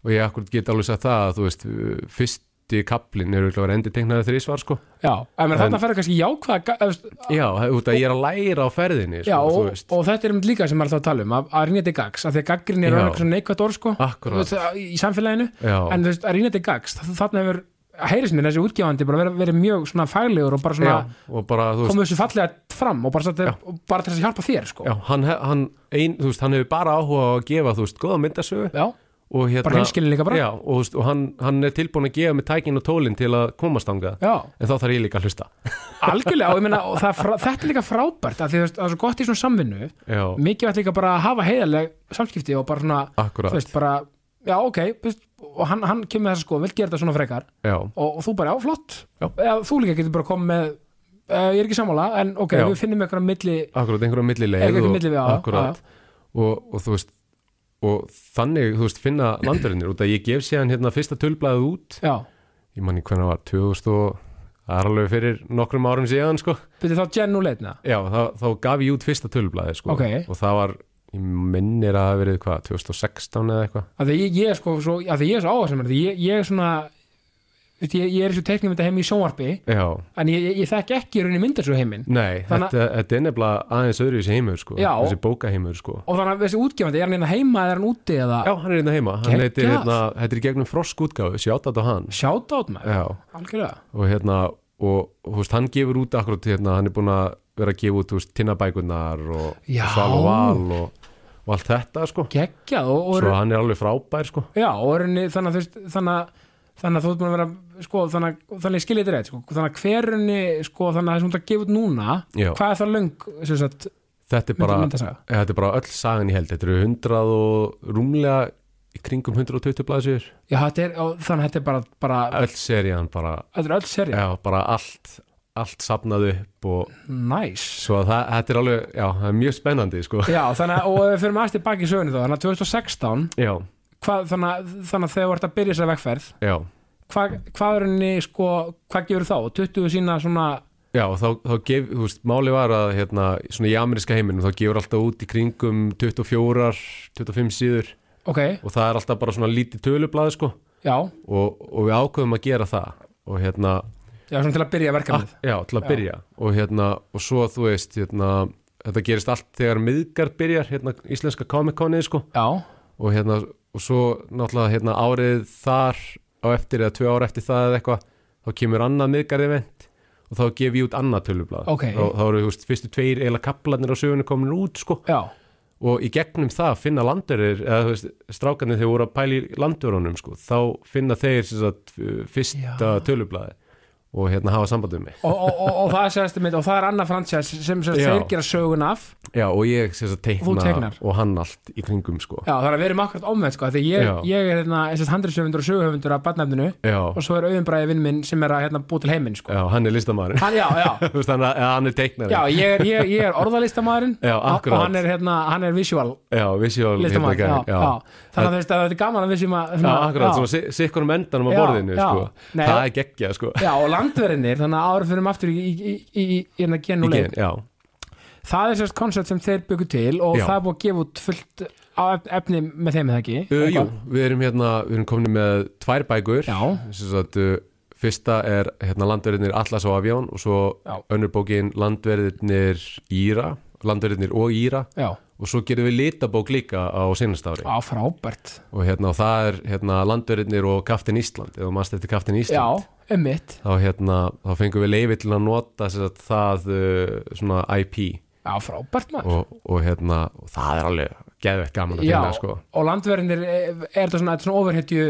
B: og ég akkurat get alveg sagt það að þú veist, uh, fyrsti kaplin eru ekki að vera endur teiknaði þrísvar sko
A: Já, en
B: En-
A: þarna fer það kannski jákvæða ga- eða, veist,
B: Já, út að ég er að læra á ferðinni sko,
A: Já,
B: þú
A: og,
B: veist.
A: og þetta er um líka sem maður er alltaf að tala um að, að rýna til gags, af því að gaggrinni er
B: Já.
A: orðin eitthvað neikvætt orð sko, Þú
B: Akkúrat.
A: veist, að- í samfélaginu
B: Já.
A: en þú veist, að rýna til gags, þ- þarna hefur heyrist mér þessi útgefandi bara verið, verið mjög svona faglegur og bara svona
B: já, og bara, þú veist,
A: komið þessu fallega fram og bara, satt, og bara til þess að hjálpa þér sko
B: já, hann, he- hann, ein, þú veist, hann hefur bara áhuga á að gefa, þú veist, góða myndasögu
A: Já,
B: og hérna,
A: Bara hreinskilinn líka bara.
B: já, og, þú veist, og hann, hann er tilbúin að gefa mig tækin og tólin til að komast þangað
A: já,
B: en þá þarf ég líka að hlusta
A: algjörlega og ég meina, og það, er frá- þetta er líka frábært af því þú veist, það er svo gott í svona samvinnu
B: já,
A: mikið vært líka bara að hafa heiðarleg samskipti og bara svona,
B: Akkúrat.
A: þú veist, bara já, ok, þú veist, og hann, hann kemur með þess sko, vil gera þetta svona frekar
B: já,
A: og, og þú bara, já, flott
B: Já.
A: eða þú líka getur bara komið með uh, ég er ekki sammála, en ok,
B: Já.
A: við finnum eitthvað á milli,
B: akkurat einhverjum millileið
A: Einhverja
B: og-
A: millileið, já,
B: akkurat og, og þú veist og þannig, þú veist, finna landurinnir út að ég gef séðan hérna fyrsta tölblaðið út
A: já,
B: ég manni hvernig var 2000 og það er alveg fyrir nokkrum árum síðan sko.
A: byrja þá Jen nú leitna
B: já, þá, þá gaf ég út fyrsta tölblaðið sko.
A: Ok.
B: og það var, ég minnir að það hafi verið hvað, 2016 eða eitthvað
A: að því ég, ég er sko, svo, að því ég er svo áhersamur því ég, ég er svona veist, ég, ég er í svo teiknum þetta heim í sjónvarpi
B: já,
A: en ég, ég, ég þekk ekki í rauninni myndar svo heiminn
B: Nei,
A: Þannig-
B: þetta, þetta er nefnilega aðeins öðru í þessi heimur sko,
A: Já.
B: þessi bókaheimur sko.
A: og þannig að þessi útgefandi, er hann hérna heima eða er hann úti eða
B: Já, hann er hérna heima, hann heitir
A: Geggjað.
B: hérna, þetta er í gegnum frosk útgáfu, sjátat á hann.
A: sjáta át maður,
B: Já,
A: algjörlega
B: og hérna, og þú veist, hann gefur út akkurat hérna, hann er búin að vera að gefa út, þú veist, tinnabækunar og
A: Já.
B: sval og val og, og allt þetta sko.
A: geggjað og, og er-
B: Svo hann er alveg frábær sko.
A: Já, og rauninni, þannig að þú veist, þannig að þannig að þú ert búin að vera sko, þannig, að- þannig að skilja þetta rétt sko, þannig að hverunni sko, þannig að það sem þú ert að gefa út núna
B: Já.
A: hvað er það löng sem sagt,
B: Þetta er
A: mynda,
B: bara, Eh,
A: myndasaga?
B: þetta er bara öll sagan í held, þetta eru hundrað og rúmlega í kringum 120 blaðsir,
A: Já, þetta er, á, þannig að þetta er bara, bara
B: öll serían bara,
A: þetta er öll serið,
B: já, bara allt, allt safnað upp og
A: næs
B: Svo að það, þetta er alveg, já, það er mjög spennandi, sko.
A: Já, þannig að, og ef við fyrir maður tilbaki í sögunni þá þannig að 2016,
B: Já,
A: hvað, þannig, að, þannig að þegar þú ert að byrja þess að vegferð
B: já,
A: hvað, hvað er henni, sko, hvað gefur þá 20 sína svona,
B: já, og þá, þá gef, þú veist, máli var að, hérna, svona í ameríska heiminum, þá gefur alltaf út í kringum 24, 25 síður
A: ok,
B: og það er alltaf bara svona lítið tölublað, sko,
A: já
B: og, og við ákveðum að gera það og, hérna,
A: já, svona til að byrja verkefnið,
B: já, til að
A: Já.
B: byrja og, hérna, og svo, þú veist, hérna, þetta gerist allt þegar miðgar byrjar, hérna, íslenska Comic-Conið, sko,
A: já,
B: og hérna og svo náttúrulega hérna árið þar á eftir eða tvö ára eftir það eða eitthvað þá kemur annað miðgarði vent og þá gef ég út annað tölublað
A: Ókei.
B: þá, þá eru þú veist fyrstu tveir eiginlega kaplarnir á sögunni komin út sko
A: já,
B: og í gegnum það finna landurir eða þú veist strákanir þegar voru að pæla í landurunum sko þá finna þeir sem sagt uh, fyrsta
A: Já.
B: tölublaði og hérna hafa samband um mig
A: og, og, og, og það sést mitt og það er annað fransæs sem sérst,
B: Já.
A: þeir gera sögun af
B: Já, og ég sem sagt
A: Þú
B: teikna
A: teiknar.
B: og hann allt í kringum sko
A: Já, það er að vera með akkurat omvend sko, því ég,
B: Já.
A: ég er hérna, sérst, handriðsjöfundur og söguhöfundur af badnefninu
B: Já,
A: og svo er auðvunbræði vinn minn sem er að hérna, búi til heiminn sko.
B: já hann er listamæður
A: hann, já, já,
B: Þannig að eða hann er teiknari
A: já ég, er, ég, ég er orðalistamæðurinn
B: Já,
A: og
B: akkurat.
A: hann er, hérna, hann er visual
B: já visjál
A: listamæður já, já. þannig að þú veist að þetta er gaman að vissum að
B: Já, akkurat, svona si- sikkunum endanum á
A: Já,
B: borðinu
A: já.
B: sko.
A: Nei,
B: það
A: já.
B: er geggjað sko.
A: já, og landverðinir, þannig að áður fyrir um aftur í, í, í, í, í hérna gen
B: Í
A: og
B: gen,
A: leik
B: já,
A: það er sérst koncept sem þeir byggu til og
B: Já.
A: það er búið að gefa út fullt á ef- efni með þeim er það ekki
B: Uh, jú,
A: Eitthvað?
B: við erum hérna, við erum komin með tvær bækur
A: Já.
B: Sem sagt, uh, Fyrsta er hérna, landverðinir Atlas og Afján og svo
A: Já.
B: önnur bókin landverðinir Íra landverðinir og Íra
A: já,
B: og svo gerum við litabók líka á sinastári
A: á frábært
B: og hérna og það er hérna, landverðinir og Kaftin Ísland eða mannst eftir Kaftin
A: já,
B: Ísland
A: um mitt
B: þá, hérna, þá fengum við leifi til að nota sem sagt, það uh, svona IP
A: já, frábært maður
B: og, og hérna og það er alveg geðvegt gaman að
A: já,
B: finna sko
A: og landverðinir er, er þetta svona, þetta er svona overhittju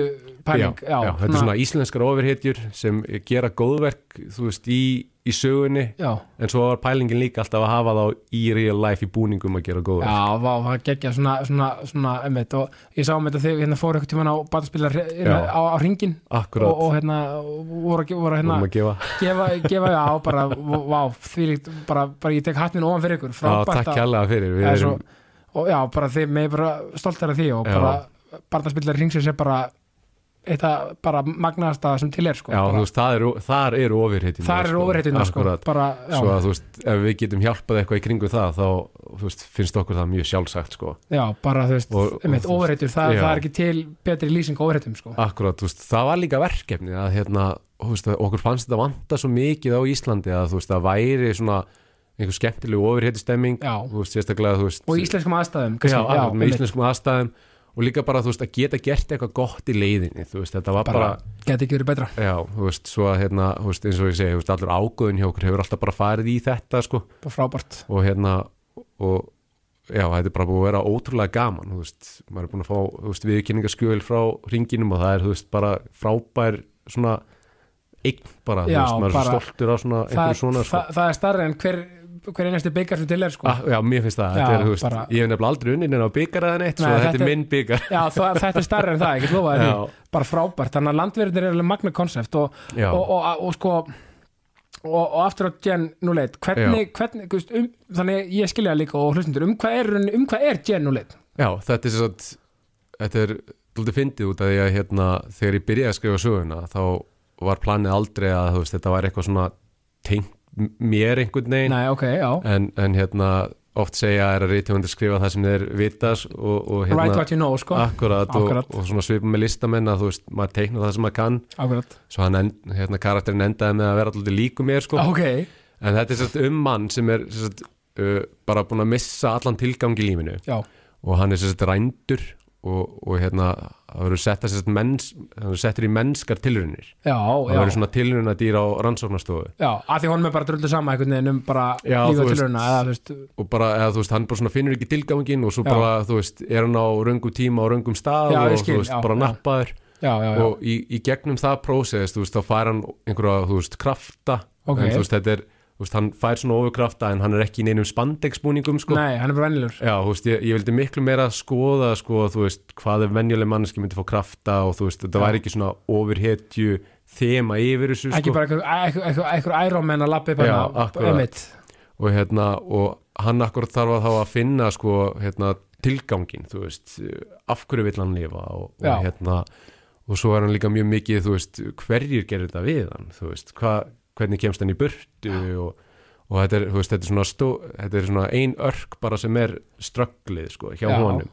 A: pæling
B: já, já, þetta er svona íslenskar ofurhetjur sem gera góðverk þú veist, í, í sögunni
A: já,
B: en svo var pælingin líka alltaf að hafa þá í real life í búningum að gera góðverk
A: Já, vá, það geggja svona, svona, svona emmitt og ég sá um þetta þegar hérna fóru eitthvað tímann á bataspila
B: Já.
A: á, á ringin og,
B: akkurat,
A: og hérna og voru, að ge- voru að,
B: vorum
A: hérna
B: að gefa
A: gefa, gefa já, bara, vá, því líkt bara, bara ég tek hatt minn ofan fyrir ykkur
B: já,
A: frábært
B: takk
A: að-
B: kærlega fyrir við
A: eða svo-
B: erum,
A: og já, bara þið, mig er bara stoltar af því og
B: Já.
A: bara bataspila ringsins er bara eitthvað bara magnaðasta sem til er sko,
B: já, þú
A: bara,
B: veist, það eru, þar eru ofurhetjurnar
A: þar er
B: sko.
A: overheitina sko,
B: Akkurat.
A: bara, já,
B: svo að þú veist, ef við getum hjálpað eitthvað í kringu það þá þú veist, finnst okkur það mjög sjálfsagt sko.
A: já, bara þú veist,
B: Og- og
A: einmitt,
B: þú veist,
A: overheitur það,
B: já. Ah.
A: það er ekki til betri lýsing á overheitum sko,
B: akkurat, þú veist, það var líka verkefni að hérna, þú veist, að okkur fannst þetta vanta svo mikið á Íslandi að þú veist, það væri svona einhver skemmtilegu ofurheiti stemming
A: Já.
B: þú veist, sérstaklega, þú veist
A: og í íslenskum aðstæðum
B: já,
A: kannski,
B: akkurat, með
A: einmitt.
B: íslenskum aðstæðum og líka bara, þú veist, að geta gert eitthvað gott í leiðinni, þú veist, þetta var bara,
A: bara geti ekki verið betra
B: já, þú veist, svo að hérna, þú veist, eins og ég segi, þú veist, allur ágöðun hjá okkur hefur alltaf bara farið í þetta, sko
A: bara frábært
B: og hérna, og já, þetta er bara búið að vera ótrúlega gaman, þú veist maður er búin að fá, þú veist, viðkynningaskjöl frá ringinum og það er, þú veist, bara frábær svona eign bara,
A: Já,
B: þú veist, maður er
A: bara-
B: svo stoltur á svona
A: það,
B: einhverju svona, sko
A: það, það er starra en hver, hver einasti byggar sem til er sko
B: Ah, já, mér finnst
A: Já,
B: það, þetta er, þú veist,
A: bara-
B: ég hef nefnilega aldrei unnin en á byggar eða neitt, svo
A: Nei,
B: þetta
A: þetta
B: er
A: er-
B: minn byggar
A: Já, það, þetta er starra en það, ég get lofaði
B: Já.
A: því bara frábært, þannig að landverðinir er alveg magna konsept og, og,
B: Já.
A: og, og, sko og, og aftur á Gen 01 hvernig, hvernig, þú veist, um, þannig ég skilja það líka og hlustundur, um hvað er, um hvað er Gen 01?
B: Já, þetta er svo að þetta er daldið fyndið út af því að hérna, þegar ég byrjaði að skrifa söguna þá var planið aldrei að þú veist, þetta var eitthvað svona tengt m- mér einhvern veginn
A: Nei, ok, já
B: en, en hérna oft segja er að reytjöfundir skrifa það sem þeir vitas og, og hérna
A: Right what you know, sko
B: akkurat, og,
A: Akkurat.
B: og svona svipa með listamenn að þú veist, maður teikna það sem maður kann
A: Akkurat
B: svo hann, end, hérna karakterin endaði með að vera alltaf líku mér sko
A: Ok,
B: en þetta er svo um mann sem er svo að, uh, bara búin að missa allan tilgang í lífinu
A: já,
B: og hann er sérst rændur og, og hérna það verður setta sérst menns, hann verður settur í mennskar tilraunir
A: já,
B: það verður
A: já
B: svona tilrauna dýr á rannsóknastofu
A: Já, að því honum er bara drullu sama einhvern veginn um bara
B: Já,
A: lífið og
B: þú veist.
A: tilurina eða þú veist,
B: og bara, eða þú veist, hann bara svona finnur ekki tilgangin og svo
A: Já.
B: bara, þú veist, er hann á röngum tíma á röngum stað
A: Já, ég
B: og
A: skil,
B: þú veist,
A: já,
B: bara
A: já.
B: nappaður
A: já, já, já,
B: og í, í gegnum það prósess, þú veist, þá fær hann einhverja, þú veist, krafta
A: Ok.
B: en þú veist, þetta er, þú veist, hann fær svona ofurkrafta en hann er ekki í neinum spandegsbúningum sko.
A: nei, hann er bara vennilegur
B: Já, þú veist, ég, ég vildi miklu meira skoða sko, þú veist, hvað er venjuleg manneski myndi fá krafta og þú veist,
A: Já.
B: þetta væri ekki svona ofurhetju þema yfir þessu
A: ekki
B: sko.
A: bara einhver- einhver einhver- einhver Iron Man að lappa upp
B: Já,
A: hana,
B: akkurat.
A: einmitt.
B: og hérna, og hann akkur þarf að þá að finna sko, hérna, tilgangin, þú veist af hverju vill hann lifa og,
A: Já.
B: og hérna, og svo er hann líka mjög mikið þú veist, hverjir gerir þetta við hann þú veist, hva, hvernig kemst hann í burtu og, og þetta er, þú veist, þetta er svona stó, þetta er svona ein örk bara sem er strögglið, sko, hjá
A: Já.
B: honum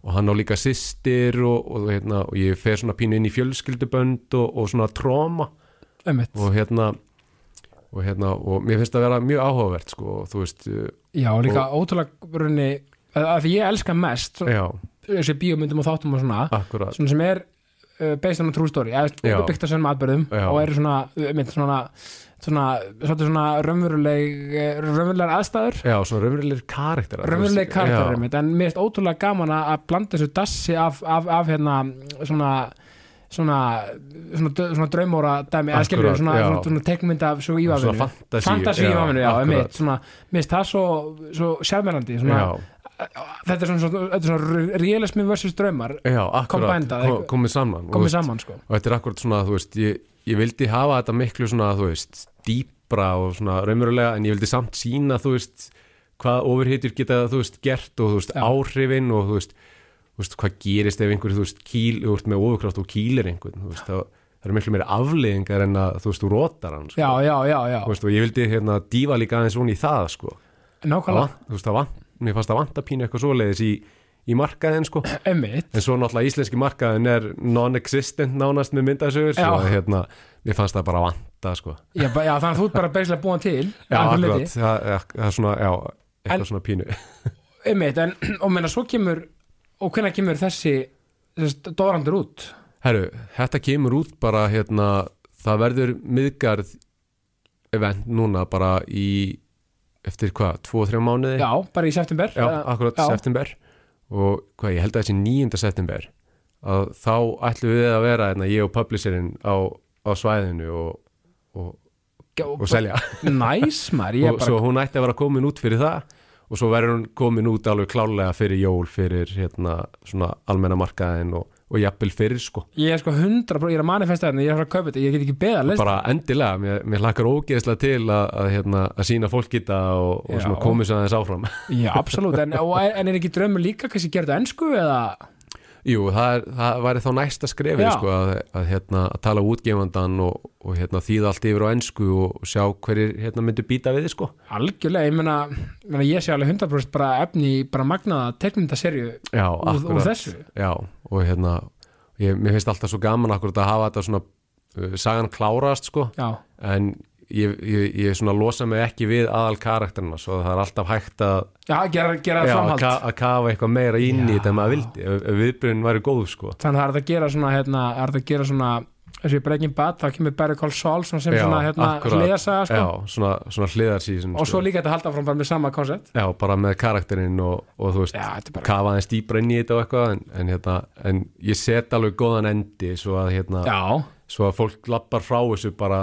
B: og hann á líka systir og, og, hérna, og ég fer svona pínu inn í fjölskyldubönd og, og svona tróma
A: einmitt.
B: og hérna og hérna, og mér finnst það að vera mjög áhugavert sko, og þú veist, uh,
A: já, líka ótrúlega runni, að að því ég elska mest svo-
B: já,
A: þessi bíómyndum og þáttum og svona
B: akkurat
A: svona sem er uh, based on a true story eða þú
B: Já.
A: veist, byggt á sem atbyrðum
B: Já.
A: og eru svona, uh, einmitt, svona svona, svona, svona raunveruleg eh, raunverulegar aðstæður
B: já, svona raunverulegir karakterar þú veist,
A: raunveruleg karakter
B: já,
A: einmitt, en mér finnst ótrúlega gaman að að blanda þessu dassi af, af, af hérna svona svona, svona, dö- svona draumóra dæmi, eða skilur
B: Akkurat,
A: svona,
B: já.
A: svona, svona teiknmynd af svo
B: svona
A: ívafinu
B: fantasíu
A: fantasíu ívafinu, já,
B: akkurat.
A: emitt svona, mér finnst það svo, svo sjálfmennandi svona,
B: já,
A: þetta er svona, svona, þetta er svona realismi versus draumar
B: já, akkurat,
A: Combined það,
B: Ko-
A: eitthvað.
B: komið saman og þú
A: komið
B: veist,
A: saman sko
B: og þetta er akkurat svona, þú veist, ég, ég vildi hafa þetta miklu svona, þú veist, dýpra og svona raunverulega, en ég vildi samt sína, þú veist, hvað ofurhitjur geta, þú veist, gert og, þú veist,
A: Já.
B: áhrifin og, þú veist, þú veist, hvað gerist ef einhver, þú veist, kýl, þú veist, með ofurkraft og kýlir einhvern, þú veist, það, það eru miklu meiri afleðingar en að, þú veist, þú rótar hann, sko,
A: já, já, já, já,
B: þú veist, og ég vildi, hérna, dýfa líka aðeins svona í það, sko, það,
A: nákvæmlega
B: vant- þú veist, það vant, mér fannst það vanta pínu eitthvað svoleiðis í, í markaðin, sko,
A: emitt,
B: en svo náttúrulega íslenski markaðin er non-existent nánast með myndasögur svo
A: Já.
B: að hérna, mér fannst það bara vanta sko.
A: já, ba- já, þannig að þú ert bara beislega búin til að
B: já,
A: einhverju
B: akkurat,
A: leyti.
B: það, það- það er svona já, eitthvað
A: En-
B: svona pínu
A: einmitt, en, og meina svo kemur og hvenær kemur þessi þessi dórandur út
B: herru, þetta kemur út bara hérna, það verður miðgarð event núna bara í eftir hvað, 2-3 mánuði
A: já, bara í september
B: Eh.
A: Eh,
B: já,
A: eða-
B: akkurat
A: já,
B: september og hvað, ég held að þessi 9. september að þá ætlum við að vera hérna, ég og publisherinn á, á svæðinu og, og, og selja
A: næs maður, ég er
B: og
A: bara
B: svo hún ætti að vera komin út fyrir það og svo verður hún komin út alveg klálega fyrir jól fyrir hérna svona almenna markaðin og, og jafnvel fyrir sko
A: ég er sko hundra, ég er að manifesta þetta ég er að fara að kaupa þetta, ég get ekki beða list
B: bara endilega, mér, mér hlakkar ógeðslega til að, að, hérna, að sína fólk í það og, og
A: Já.
B: svona komið sér aðeins áfram
A: já, absolutt, en, og, en er ekki draumur líka kannski gera þetta ennsku eða
B: Jú, það, er, það væri þá næsta skrefið
A: Já.
B: sko, að, að, hérna, að tala útgefandan og, og hérna, þýða allt yfir á ensku og, og sjá hverjir hérna, myndu býta við þið sko
A: algjörlega, ég meina, meina ég sé alveg 100% bara efni í bara magnaða tekmyndaserju
B: Já,
A: úr, úr
B: akkurat.
A: þessu
B: Já, og hérna ég, mér finnst alltaf svo gaman akkurat að hafa þetta svona uh, sagan klárast sko
A: já,
B: en ég, ég, ég svona losa mig ekki við aðal karakterina svo það er alltaf hægt að,
A: já gera, gera
B: já, að,
A: framhald
B: ka, að kafa eitthvað meira inn
A: Já.
B: í þetta en maður vildi ef, ef viðbrun væri góð sko
A: þannig að það er hægt að gera svona, hérna, það er hægt að gera svona þessi Breaking Bad, þá kemur Barry Cole Saul sem
B: Já,
A: svona, hérna,
B: akkurat.
A: lesa sko.
B: Já, svona, svona hliðarsýsin
A: og svo líka þetta halda fram bara með sama koncept
B: Já, bara með karakterinn og, og þú veist
A: já, þetta er bara,
B: kafa aðeins dýpra inn í þetta og eitthvað en, en, hérna, en ég set alveg góðan endi svo að hérna
A: já
B: svo að fólk lappar frá þessu bara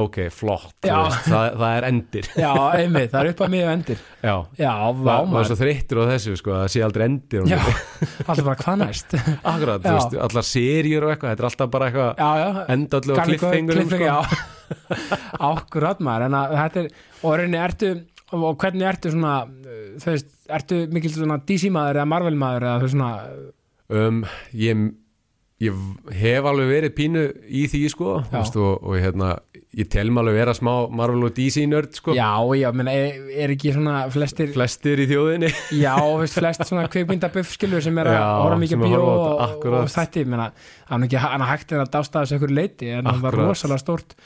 B: ok, flott, þú
A: Já.
B: veist, það, það er endir
A: Já, einmitt, það er upp að miða endir
B: já,
A: Já,
B: Vá, maður er
A: vámar
B: svo þreyttur á þessu sko, að það sé aldrei endir á
A: Já,
B: honum.
A: alltaf bara hvað næst Já,
B: akkurat, þú
A: Já.
B: veist, allar serjur og eitthvað þetta er alltaf bara eitthvað
A: já
B: endallu og
A: Garlic-
B: kliffengurum
A: cliffhanger,
B: sko.
A: já Akkurat maður, en að þetta er og rauninni ertu, og hvernig ertu svona uh, þú veist, ertu mikil svona DC maður eða Marvel maður eða þú veist svona
B: um, ég, ég hef alveg verið pínu í því sko, þú
A: Já.
B: veist, og, og hérna, ég tel maður alveg vera smá Marvel og DC nörd sko,
A: Já, já, meina, er, er ekki svona flestir
B: flestir í þjóðinni
A: Já, veist, flest svona kvikmyndabuff skilur sem er að
B: Já,
A: horfa mikið
B: sem
A: á
B: að
A: bíó
B: horfa á þetta,
A: og,
B: akkurat.
A: og þætti, ég meina, hann er ekki hann er hægt er að dásta þessu ykkur leiti en hann var
B: Akkurat.
A: rosalega stórt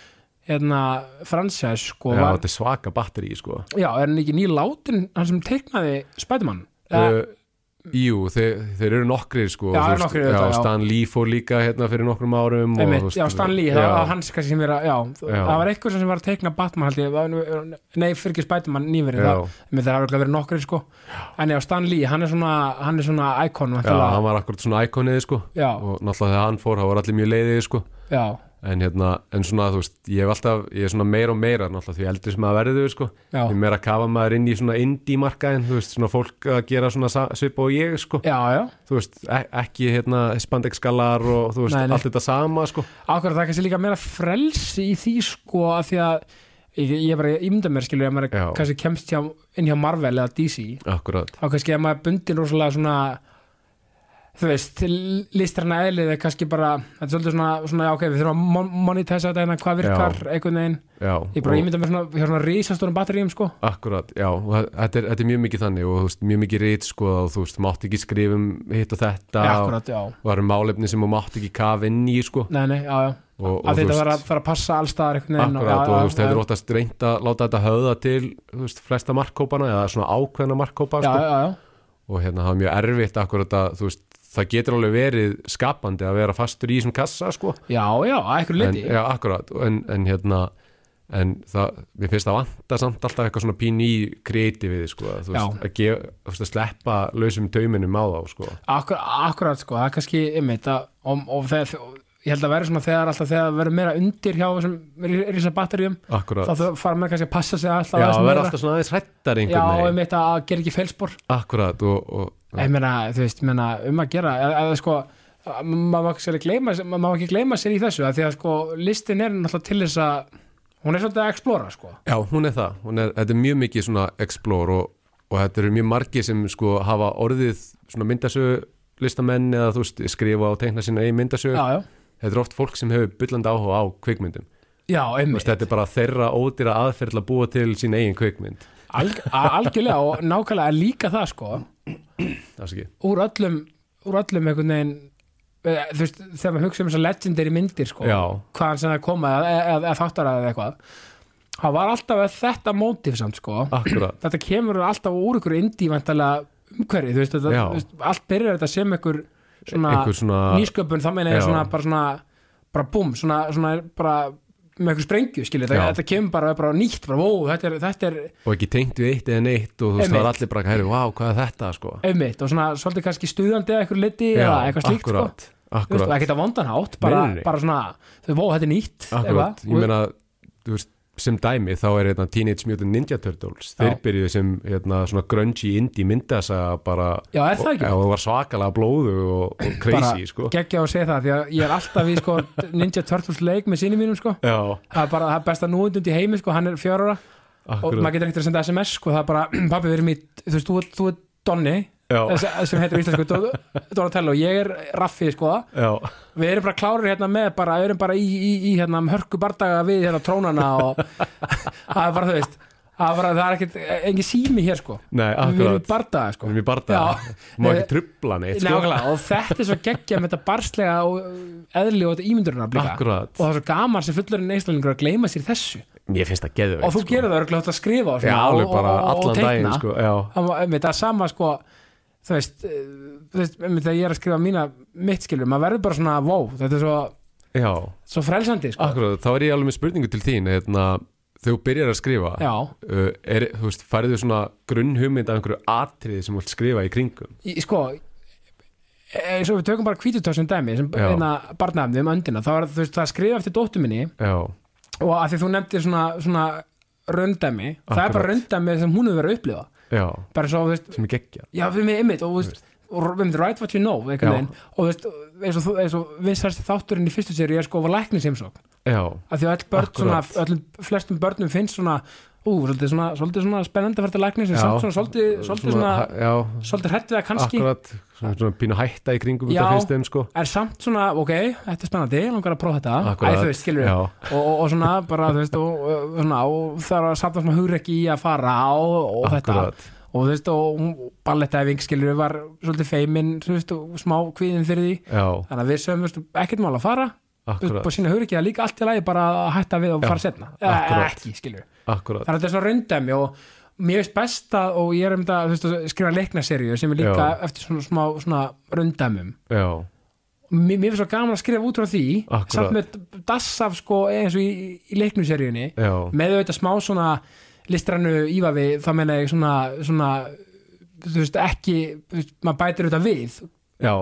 A: hérna, fransæs sko,
B: já,
A: var,
B: þetta er svaka batteri sko.
A: já, er hann ekki nýlátin hann sem teiknaði Spiderman
B: uh, Jú, þeir, þeir eru nokkrir
A: Já,
B: sko, þú
A: eru
B: veist,
A: nokkrir auðvitað, já.
B: Stan Lee fór líka hérna fyrir nokkrum árum og, þú
A: Eh, Einmitt,
B: veist,
A: já, Stanley,
B: já,
A: það var hans kannski sem er að, já,
B: Já.
A: það var eitthvað sem var að teikna Batman held ég, var- nei, fyrir ekki Spiderman nýverið,
B: Já.
A: það, einmitt, það hafa örugglega verið nokkrir sko, en já, Stanley, hann er svona hann er svona íkon,
B: Já, hann var akkurat svona íkonið sko,
A: já,
B: og náttúrulega þegar hann fór, það var allir mjög leiðið sko.
A: já,
B: en, hérna, en svona, þú veist, ég hef alltaf ég er svona meira og meira, náttúrulega því eldri sem að verðu sko.
A: Já.
B: því meira kafa maður inn í svona indie markaðin, þú veist, svona fólk að gera svona sa- svipa og ég, sko
A: já, já
B: þú veist, e ekki hérna spandex skalar og þú veist,
A: Nei, nei.
B: allt þetta sama sko.
A: Akkurat, það er kannski líka meira frelsi í því sko að því að ég, ég bara ímynda mér skilur að maður
B: Já.
A: kannski kemst hjá, inn hjá Marvel eða DC
B: akkurat,
A: þá kannski að maður er bundin rosalega svona þú veist, listræna eðlið er kannski bara, þetta er svolítið svona, svona já, ok, við þurfum að mon- monetisa þetta hérna, hvað virkar einhvern veginn,
B: já
A: ég bara
B: og-
A: ímynda mér svona hjá svona risastórum batteríum sko
B: Akkurat, já, og það- þetta er, þetta er mjög mikið þannig og þú veist, mjög mikið rít sko og þú veist, mátt ekki skrifa um hitt og
A: Já,
B: þetta og
A: akkurat, já,
B: það eru málefni sem þú mátt ekki kafa inn í sko
A: nei, nei, já, já
B: og, og
A: að
B: þú
A: þetta þarf
B: veist,
A: að, þarf að passa allstaðar einhvern veginn
B: akkurat og þú veist,
A: já,
B: þetta er óttast reynd að láta þetta höða til, þú veist, flesta markkópana eða svona ákveðna markkópa
A: já,
B: sko
A: já, já,
B: og hérna það er mjög erfitt akkurat að, þú veist, það getur alveg verið skapandi að vera fastur í þessum kassa sko
A: já, já, að einhver
B: en,
A: liti
B: já, akkurat, en, en hérna en það, mér finnst það vanta samt alltaf eitthvað svona pín í kreatífið sko, að þú veist,
A: Já.
B: að, gef, þú veist, að sleppa lausum tauminum á þá sko.
A: Akkur, akkurat sko, það er kannski einmitt að, og, og þegar og ég held að vera svona þegar alltaf þegar verður meira undir hjá þessum risa batteríum
B: akkurat
A: þá þau fara með kannski að passa sig alltaf
B: Já,
A: aðeins
B: það verður
A: meira.
B: alltaf svona aðeins hrættar einhvern
A: já,
B: veginn
A: um eitt að gera ekki feilspor
B: Akkurat og, og
A: ég meina, þú veist, ég meina, um að gera að, að sko, að maður má ekki sér að gleyma sér- maður má ekki gleyma sér í þessu að því að sko, listin er náttúrulega til þess að hún er svolítið að explora, sko
B: Já, hún er það, hún er, þetta er mjög mikið svona explore og, og þetta eru mjög margir sem sko hafa orðið svona myndasögu listamenn eða þú veist skrifa og teikna sína eigin myndasögu
A: já, já,
B: Þetta er oft fólk sem hefur byllandi áhuga á kvikmyndum
A: já,
B: Þú
A: einmitt
B: veist, Þetta er bara þeirra ódýra aðferðla að búa til sína eigin kvikmynd
A: Alg, a- algjörlega og nákvæmlega en líka það, sko
B: Afsakið.
A: úr öllum, úr öllum einhvern veginn eh, þú veist, þegar maður hugsa um þessar legendary myndir sko,
B: Já.
A: hvaðan sem það koma eða, eða, eða þáttaraði eða eitthvað það var alltaf þetta mótif samt sko
B: Akkurat,
A: þetta kemur alltaf úr ykkur indívæntalega umhverfi, þú veist, þetta,
B: Já.
A: þú veist allt byrjar þetta sem ykkur svona
B: einhver svona
A: nýsköpun, það meina ég
B: Já.
A: svona bara svona, bara búm, svona, svona bara með ykkur sprengju, skiljið, þetta,
B: Já.
A: þetta kemur bara, bara nýtt, bara, ó, þetta er, þetta er
B: og ekki tengt við eitt eða neitt og þú veist það er
A: Einmitt.
B: allir bara, herri, vá, hvað er þetta sko
A: auðmitt og svona svolítið kannski stuðandi eða ykkur liti
B: Já,
A: eða eitthvað slíkt, sko
B: akkurat,
A: Þú veist,
B: akkurat.
A: ekkert á vondan hátt, bara,
B: Nei, nei, nei.
A: bara svona þau vó, þetta er nýtt
B: Akkurat,
A: eitthvað.
B: ég meina þú veist, sem dæmi þá er hérna, Teenage Mutant Ninja Turtles þeir
A: Já.
B: byrjuðu sem hérna, svona grungy indie myndasa bara
A: Já, er það ekki?
B: og, og var svakalega blóðu og, og crazy
A: bara
B: sko.
A: geggja og segja það því að ég er alltaf í sko, Ninja Turtles leik með sinni mínum sko.
B: Já,
A: það er bara það er besta núundund í heimi sko, hann er fjör ára og
B: akkurat
A: maður getur ekkert að senda SMS sko, það er bara, pappi við erum í þú veist, þú, ert- þú er Donni
B: já,
A: sem sem heitir á íslensku Do- Donatello ég er Raffi sko
B: já,
A: við erum bara klárir hérna með bara við erum bara í, í, í hérna hörku bardaga við hérna trónana og það er bara þú veist það er, bara, það er ekkert engin sími hér sko
B: nei,
A: við erum í
B: akkurat
A: bardaga sko
B: við erum í barða,
A: Já.
B: má ekki trubla neitt sko.
A: Nákvæmlega, og þetta er svo geggja með þetta barslega og eðli og þetta ímyndurinn að blika og
B: akkurat,
A: það er svo gaman sem fullurinn einslæningur að gleyma sér þessu
B: mér finnst það
A: og
B: geðveikt sko.
A: þú gerir það örglega að skrifa og,
B: já,
A: svona,
B: alveg
A: og,
B: bara
A: og, og, og
B: allan
A: teikna
B: daginn sko. já,
A: það var- einmitt, það er sama sko þú veist, eh, þú veist einmitt, þegar ég er að skrifa mína mitt skilur, maður verður bara svona wow, þetta er svo,
B: já,
A: svo frelsandi sko.
B: akkurat þá er ég alveg með spurningu til þín hérna, þegar þú byrjar að skrifa
A: já,
B: uh, er, þú veist, færðu svona grunnhugmynd af einhverju atriði sem þú vilt skrifa í kringum
A: í, sko eins og við tökum bara kvítutöð sem dæmi sem
B: Já.
A: einna barnaefni um öndina þá er þú veist, það að skrifa eftir dóttu minni
B: já,
A: og að því þú nefndir svona, svona raundæmi, það er
B: Akkurat.
A: bara raundæmi sem hún hefur verið að upplifa
B: já,
A: bara svo, þú veist,
B: sem er geggja
A: já, við með ymmit og, þú veist, og við með right what you know einhvern
B: Já.
A: veginn. og þú veist, eins og, þú- eins og vinstarsti þátturinn í fyrstu séri er sko var læknisheimsókn
B: já,
A: að því að öll börn, svona,
B: Akkurat.
A: öllum, flestum börnum finnst svona, ú, svolítið svona, svolítið svona spennandi að fara til læknis en
B: Já.
A: samt svona, svolítið, svolítið svona,
B: hæ- já,
A: svolítið hrætt við það kannski
B: akkurat svona, svona pínu hætta í
A: Já.
B: kringum þetta finnst þeim sko
A: er samt svona, ok, þetta er spennandi ég langar að prófa þetta,
B: Akkurat.
A: æ, þú veist, skilur
B: Já.
A: og, og, og svona, bara, þú veist og, og, svona, og það er að samt svona hugrekki í að fara og, og þetta
B: Akkurat.
A: og þú veist, og ballettæfing skilur var svolítið feimin, þú veist og smá kvíðin fyrir því,
B: já,
A: þannig að við sögum þú veist, ekkert mál að fara, þú veist,
B: akkurat,
A: bara sína hugrekki það er líka allt í lagi bara að hætta við og
B: Já.
A: fara setna eða eða
B: Akkurat.
A: ekki, skilur
B: akkurat
A: þannig að þetta er svona raundæmi og mér veist best að, og ég er um þetta, þú veist, að skrifa leiknaserju sem er líka
B: Já.
A: eftir svona smá svona raundæmum
B: já,
A: mér mér finnst svo gaman að skrifa út frá því
B: Akkúrat.
A: samt með dass af sko eins og í, í leiknuseríunni
B: já,
A: með auðvitað smá svona listrannu ífavi þá meina ég svona, svona þú veist ekki þú veist, maður bætir auðvitað við
B: já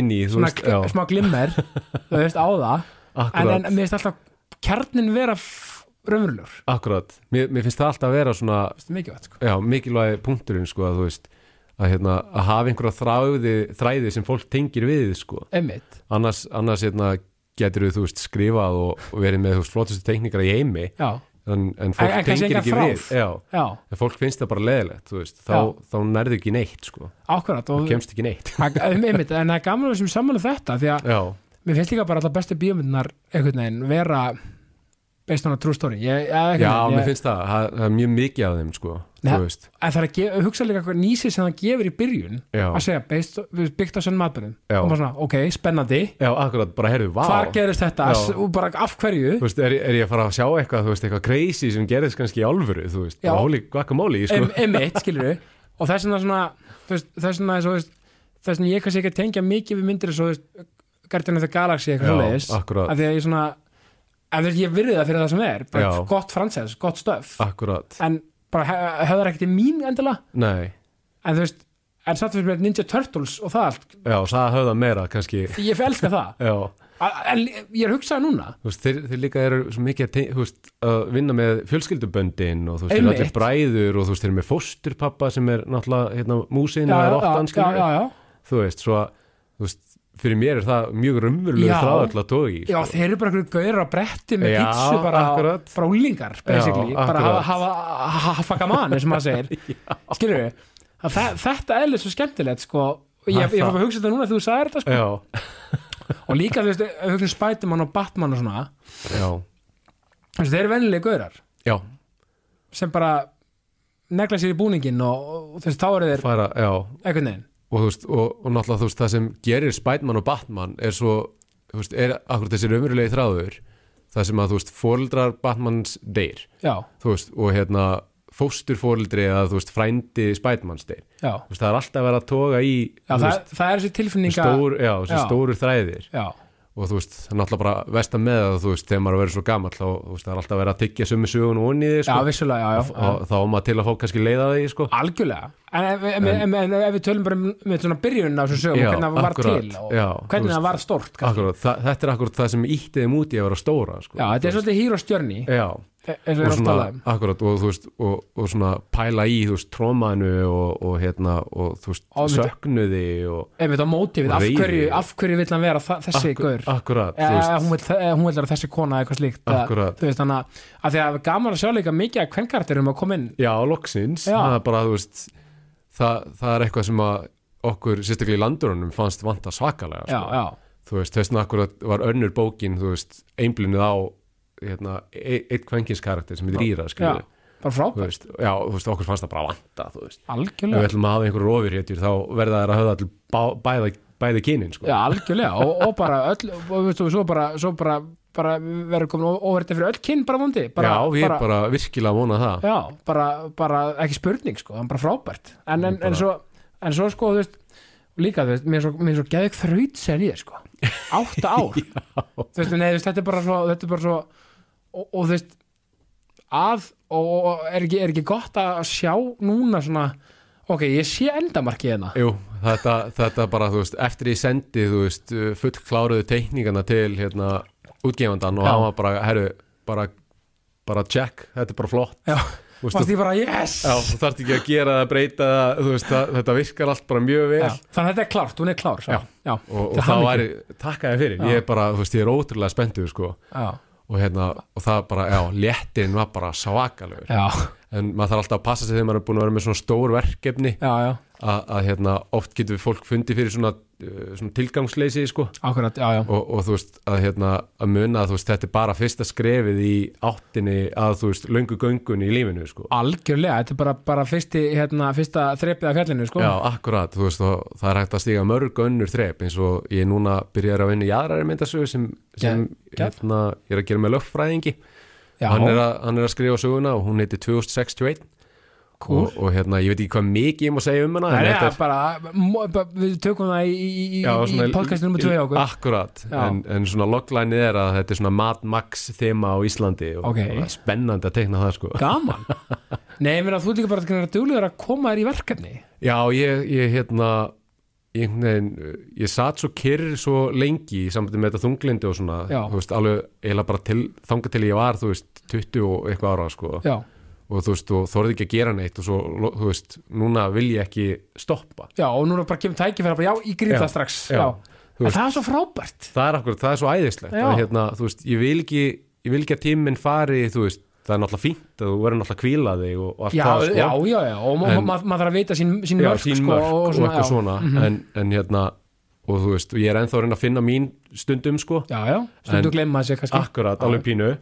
B: inn í, þú
A: svona,
B: veist, já,
A: smá glimmer þú veist á það en, en
B: akkurat
A: mér finnst alltaf kjarnin vera f- raunverulegur
B: akkurat, mér, mér finnst það alltaf að vera svona
A: Þetta er mikilvægt sko
B: já, mikilvægi punkturinn sko að þú veist að, hérna, að hafa einhverja þráði, þræði sem fólk tengir við sko
A: einmitt
B: annars, annars hérna, getur þú veist skrifað og, og verið með þú veist flottustu teknikar í heimi
A: já
B: en, en fólk
A: En- en kannski
B: tengir
A: engan
B: ekki
A: þráð.
B: við já,
A: já
B: en fólk finnst það bara leðilegt þú veist, þá, þá nærðu ekki neitt sko,
A: ákvæmt
B: þú
A: og
B: kemst ekki neitt
A: Það- einmitt en það er gaman að við sem samanlega þetta því að
B: já,
A: mér finnst líka bara alltaf bestu bíómyndunar einhvern veginn vera based on a true story ég, ég,
B: já, mér
A: ég,
B: finnst það, það það er mjög mikið af þeim sko,
A: Nei.
B: þú veist
A: en það er að ge- hugsa líka hvað nýsið sem það gefur í byrjun
B: já,
A: að segja based, byggt á sönn matbyrðum
B: Já.
A: og maður svona, ok, spennandi
B: já akkurat, bara heyrðu, vá
A: hvað gerist þetta
B: Já.
A: S- og bara af hverju
B: þú veist, er, er ég að fara að sjá eitthvað, þú veist, eitthvað crazy sem gerðist kannski í alvöru, þú veist,
A: Já. Um,
B: holy guacamole sko,
A: em- emitt, skilur við og þess vegna svona þú veist, þess vegna svo, þú veist, þess vegna ég kannski ekki að tengja mikið við myndir svo, Guardian of the Galaxy eitthvað
B: Já,
A: svoleiðis
B: akkurat.
A: af því að ég svona en þú veist, ég virði það fyrir það sem það er bara
B: Já. Ah.
A: gott fransæs, gott stöf
B: akkurat,
A: en bara hö- höfðar ekkert í mín endilega
B: nei
A: en þú veist, en satt fyrir mér Ninja Turtles og það allt,
B: já, það höfða meira kannski,
A: ég elska það
B: já
A: A- en ég er að hugsa núna
B: Þú veist, þeir, þeir líka eru svo mikið að, te- þú veist, að vinna með fjölskylduböndin og þú veist, þeir eru
A: Einmitt.
B: allir bræður og þú veist, þeir eru með fósturpappa sem er náttúrulega hérna, músin og
A: já,
B: er
A: já,
B: óttan,
A: já, já,
B: skilur
A: já.
B: þú veist, svo að þú veist, fyrir mér er það mjög sko.
A: Já.
B: raunverulega þráður til að tói
A: já, þeir eru bara einhverju gauður á bretti með
B: Já,
A: pítsu bara
B: akkurat.
A: brálingar, basically,
B: Já,
A: bara hafa,
B: akkurat.
A: hafa, hafa fucka mann, eins og maður segir skilur við, þetta eðlis svo skemmtilegt, sko ég,
B: Það
A: ég
B: er það.
A: var að hugsa þetta núna þegar þú sagðir þetta,
B: já,
A: sko og líka, þú veist, ef við hugsa Spiderman og Batman og svona,
B: já,
A: þú veist, þeir eru vennilega gaurar
B: já,
A: sem bara negla sér í búningin og, og þú veist, þá eru þeir
B: fara, já
A: einhvern veginn
B: og þú veist, og, og náttúrulega þú veist, það sem gerir Spiderman og Batman er svo, þú veist, er akkur þessi raunverulegi þráður, það sem að þú veist, fóreldrar Batmans deyr
A: já,
B: þú veist, og hérna fósturfóreldri eða þú veist, frændi Spidermans deyr
A: já,
B: Þú veist, það er alltaf að vera að toga í
A: já
B: þú
A: það,
B: veist,
A: það er þessi tilfinninga
B: stór, já, já.
A: Já.
B: stóru þræðir
A: já,
B: og þú veist, það er náttúrulega bara vestan með það þú veist, þegar maður verður svo gamall þá þú veist, það er alltaf að vera að tyggja sömu sögun og onni því
A: já,
B: sko,
A: vissulega, já, já, já.
B: og þá á maður til að fá kannski leiða því sko.
A: Algjörlega, en ef, ef, en, en, ef við tölum bara um með svona byrjun á þessu sögum
B: Já,
A: hvernig það var
B: akkurat,
A: til og
B: já, þú
A: hvernig
B: veist.
A: það var stórt kannski.
B: akkurat, það, þetta er akkurat það sem ítti þeim út í að vera stóra sko,
A: Já, þetta er svolítið hýr og stjörni
B: svolítið já,
A: eins og við
B: E- og
A: erum að
B: svona,
A: tala um
B: akkurat, og þú veist og, og svona pæla í, þú veist, trómaðinu og, og hérna, og þú veist,
A: Á, við-
B: söknuði og
A: einmitt á mótífið,
B: Og
A: af
B: reiði.
A: hverju, af hverju vill hann vera þa- þessi
B: Akkur-
A: gaur
B: akkurat,
A: Eh,
B: þú veist,
A: hún vill þe- eh, hún vill vera þessi kona eða eitthvað slíkt eða,
B: Akkurat.
A: þú veist þannig að- að því að gaman að sjá líka mikið að kvenkarturum að koma inn
B: Já, loksins,
A: Já.
B: það er bara, þú veist það, það er eitthvað sem að okkur, sérstaklega í landurunum, fannst vanta svakalega,
A: já,
B: sko.
A: já,
B: þú veist, þessna akkur var önnur bókin, þú veist, einblinuð á hérna, e eitt kvenkins karakter sem heitir Íra,
A: já,
B: skilju
A: bara
B: þú
A: frábært
B: veist, já, þú veist, okkur fannst það bara vanta, þú veist, ef við
A: algjörlega,
B: ætlum að hafa einhver ofurhetjur, þá verða þær að höfða til bá, bæða, bæði kynin, sko
A: já, algjörlega og, og bara öll, og veist þú, svo bara, svo bara, bara verður komin óverðið fyrir öll kyn bara vondi, bara,
B: Já, við bara, bara virkilega að vona það
A: já, bara, bara ekki spurning sko, hann bara frábært en, en, en, svo, en svo sko, þú veist líka, þú veist, mér er svo, mér er svo geðið þraut sér ég sko, átta ár þú veist, nei, þú veist, þetta er bara svo, þetta er bara svo og, og þú veist að, og, og er, ekki, er ekki gott að sjá núna svona ok, ég sé endamarki hérna
B: Jú, þetta, þetta bara, þú veist, eftir ég sendi, þú veist, fullkláruðu teikningana til, hérna, útgefandan og
A: Já.
B: hann var bara, herru, bara, bara check, þetta er bara flott.
A: já,
B: Þú veist,
A: fannst
B: þú,
A: ég bara, yes
B: já, þú þarft ekki að gera það, breyta það, þú veist, það, þetta virkar allt bara mjög vel.
A: Já, þannig að þetta er klárt, hún er klár svo.
B: Já.
A: já,
B: Og,
A: Til
B: og það
A: hamingju.
B: væri, takk að þið fyrir, ég er bara, þú veist, ég er ótrúlega spenntur, sko,
A: já,
B: og hérna, og það bara, já, léttin var bara svakalögur.
A: já,
B: En maður þarf alltaf að passa sig þegar maður er búin að vera með svona stór verkefni,
A: já, já,
B: að, að hérna, oft getur fólk fundið fyrir svona, uh, svona tilgangsleysi, sko.
A: akkurat, já, já
B: og, og þú veist að, hérna, að muna að þú veist, þetta er bara fyrsta skrefið í áttinni að þú veist löngu göngunni í lífinu sko.
A: algjörlega, þetta er bara, bara fyrsti, hérna, fyrsta þreipið af fjallinu sko.
B: Já, akkurat, þú veist, og það er hægt að stíga mörg önnur þrep eins og ég núna byrjar að vinna í aðrari myndasögu sem, sem
A: Gegn-
B: hérna, ég er að gera með lögfræðingi
A: Já,
B: hann er, að, hann er að skrifa söguna og hún heiti 2061
A: Kúl.
B: og, og hérna, ég veit ekki hvað mikið ég má segja um hana
A: Nei,
B: en
A: ja,
B: þetta er-
A: bara, mo- bara, við tökum það í, í, í,
B: Já,
A: í podcast nummer 2 okkur
B: Ah. Akkurat,
A: Já.
B: en, en svona loglænið er að þetta er svona Mad Max þema á Íslandi og,
A: Ok.
B: og það er spennandi að teikna það sko
A: Gaman Nei, mér að þú ert líka bara að duglegur að koma þér í verkefni
B: Já, ég, ég hérna ég, nein, ég satt svo kyrr svo lengi í sambandi með þetta þunglindi og svona,
A: Já.
B: þú veist, alveg eiginlega bara til, þanga til ég var, þú veist, 20 og eitthvað ára, sko,
A: Já,
B: og þú veist, og þorði ekki að gera neitt og svo, lo- þú veist, núna vil ég ekki stoppa.
A: já og núna bara kemur tækifæra bara, Já, ég grýf
B: Já,
A: það strax
B: já,
A: já.
B: þú
A: En
B: veist.
A: það er svo frábært
B: Það er akkur, það er svo æðislegt,
A: Já.
B: að, hérna, þú veist, ég vil ekki, ég vil ekki að tíminn fari, þú veist, það er náttúrulega fínt að þú verður náttúrulega að kvíla þig og, og allt
A: Já,
B: það, sko.
A: já, já, já, og ma-
B: En-
A: ma- maður þarf að vita sín, sín
B: já,
A: mörk,
B: sín
A: sko,
B: mörk og,
A: svona, já.
B: eitthvað
A: Mhm.
B: svona en, en hérna og þú veist, og ég er ennþá að reyna að finna mín stundum sko,
A: Já, já, stundu
B: En- Ah,
A: glemma þessi kannski
B: akkurat, alveg pínu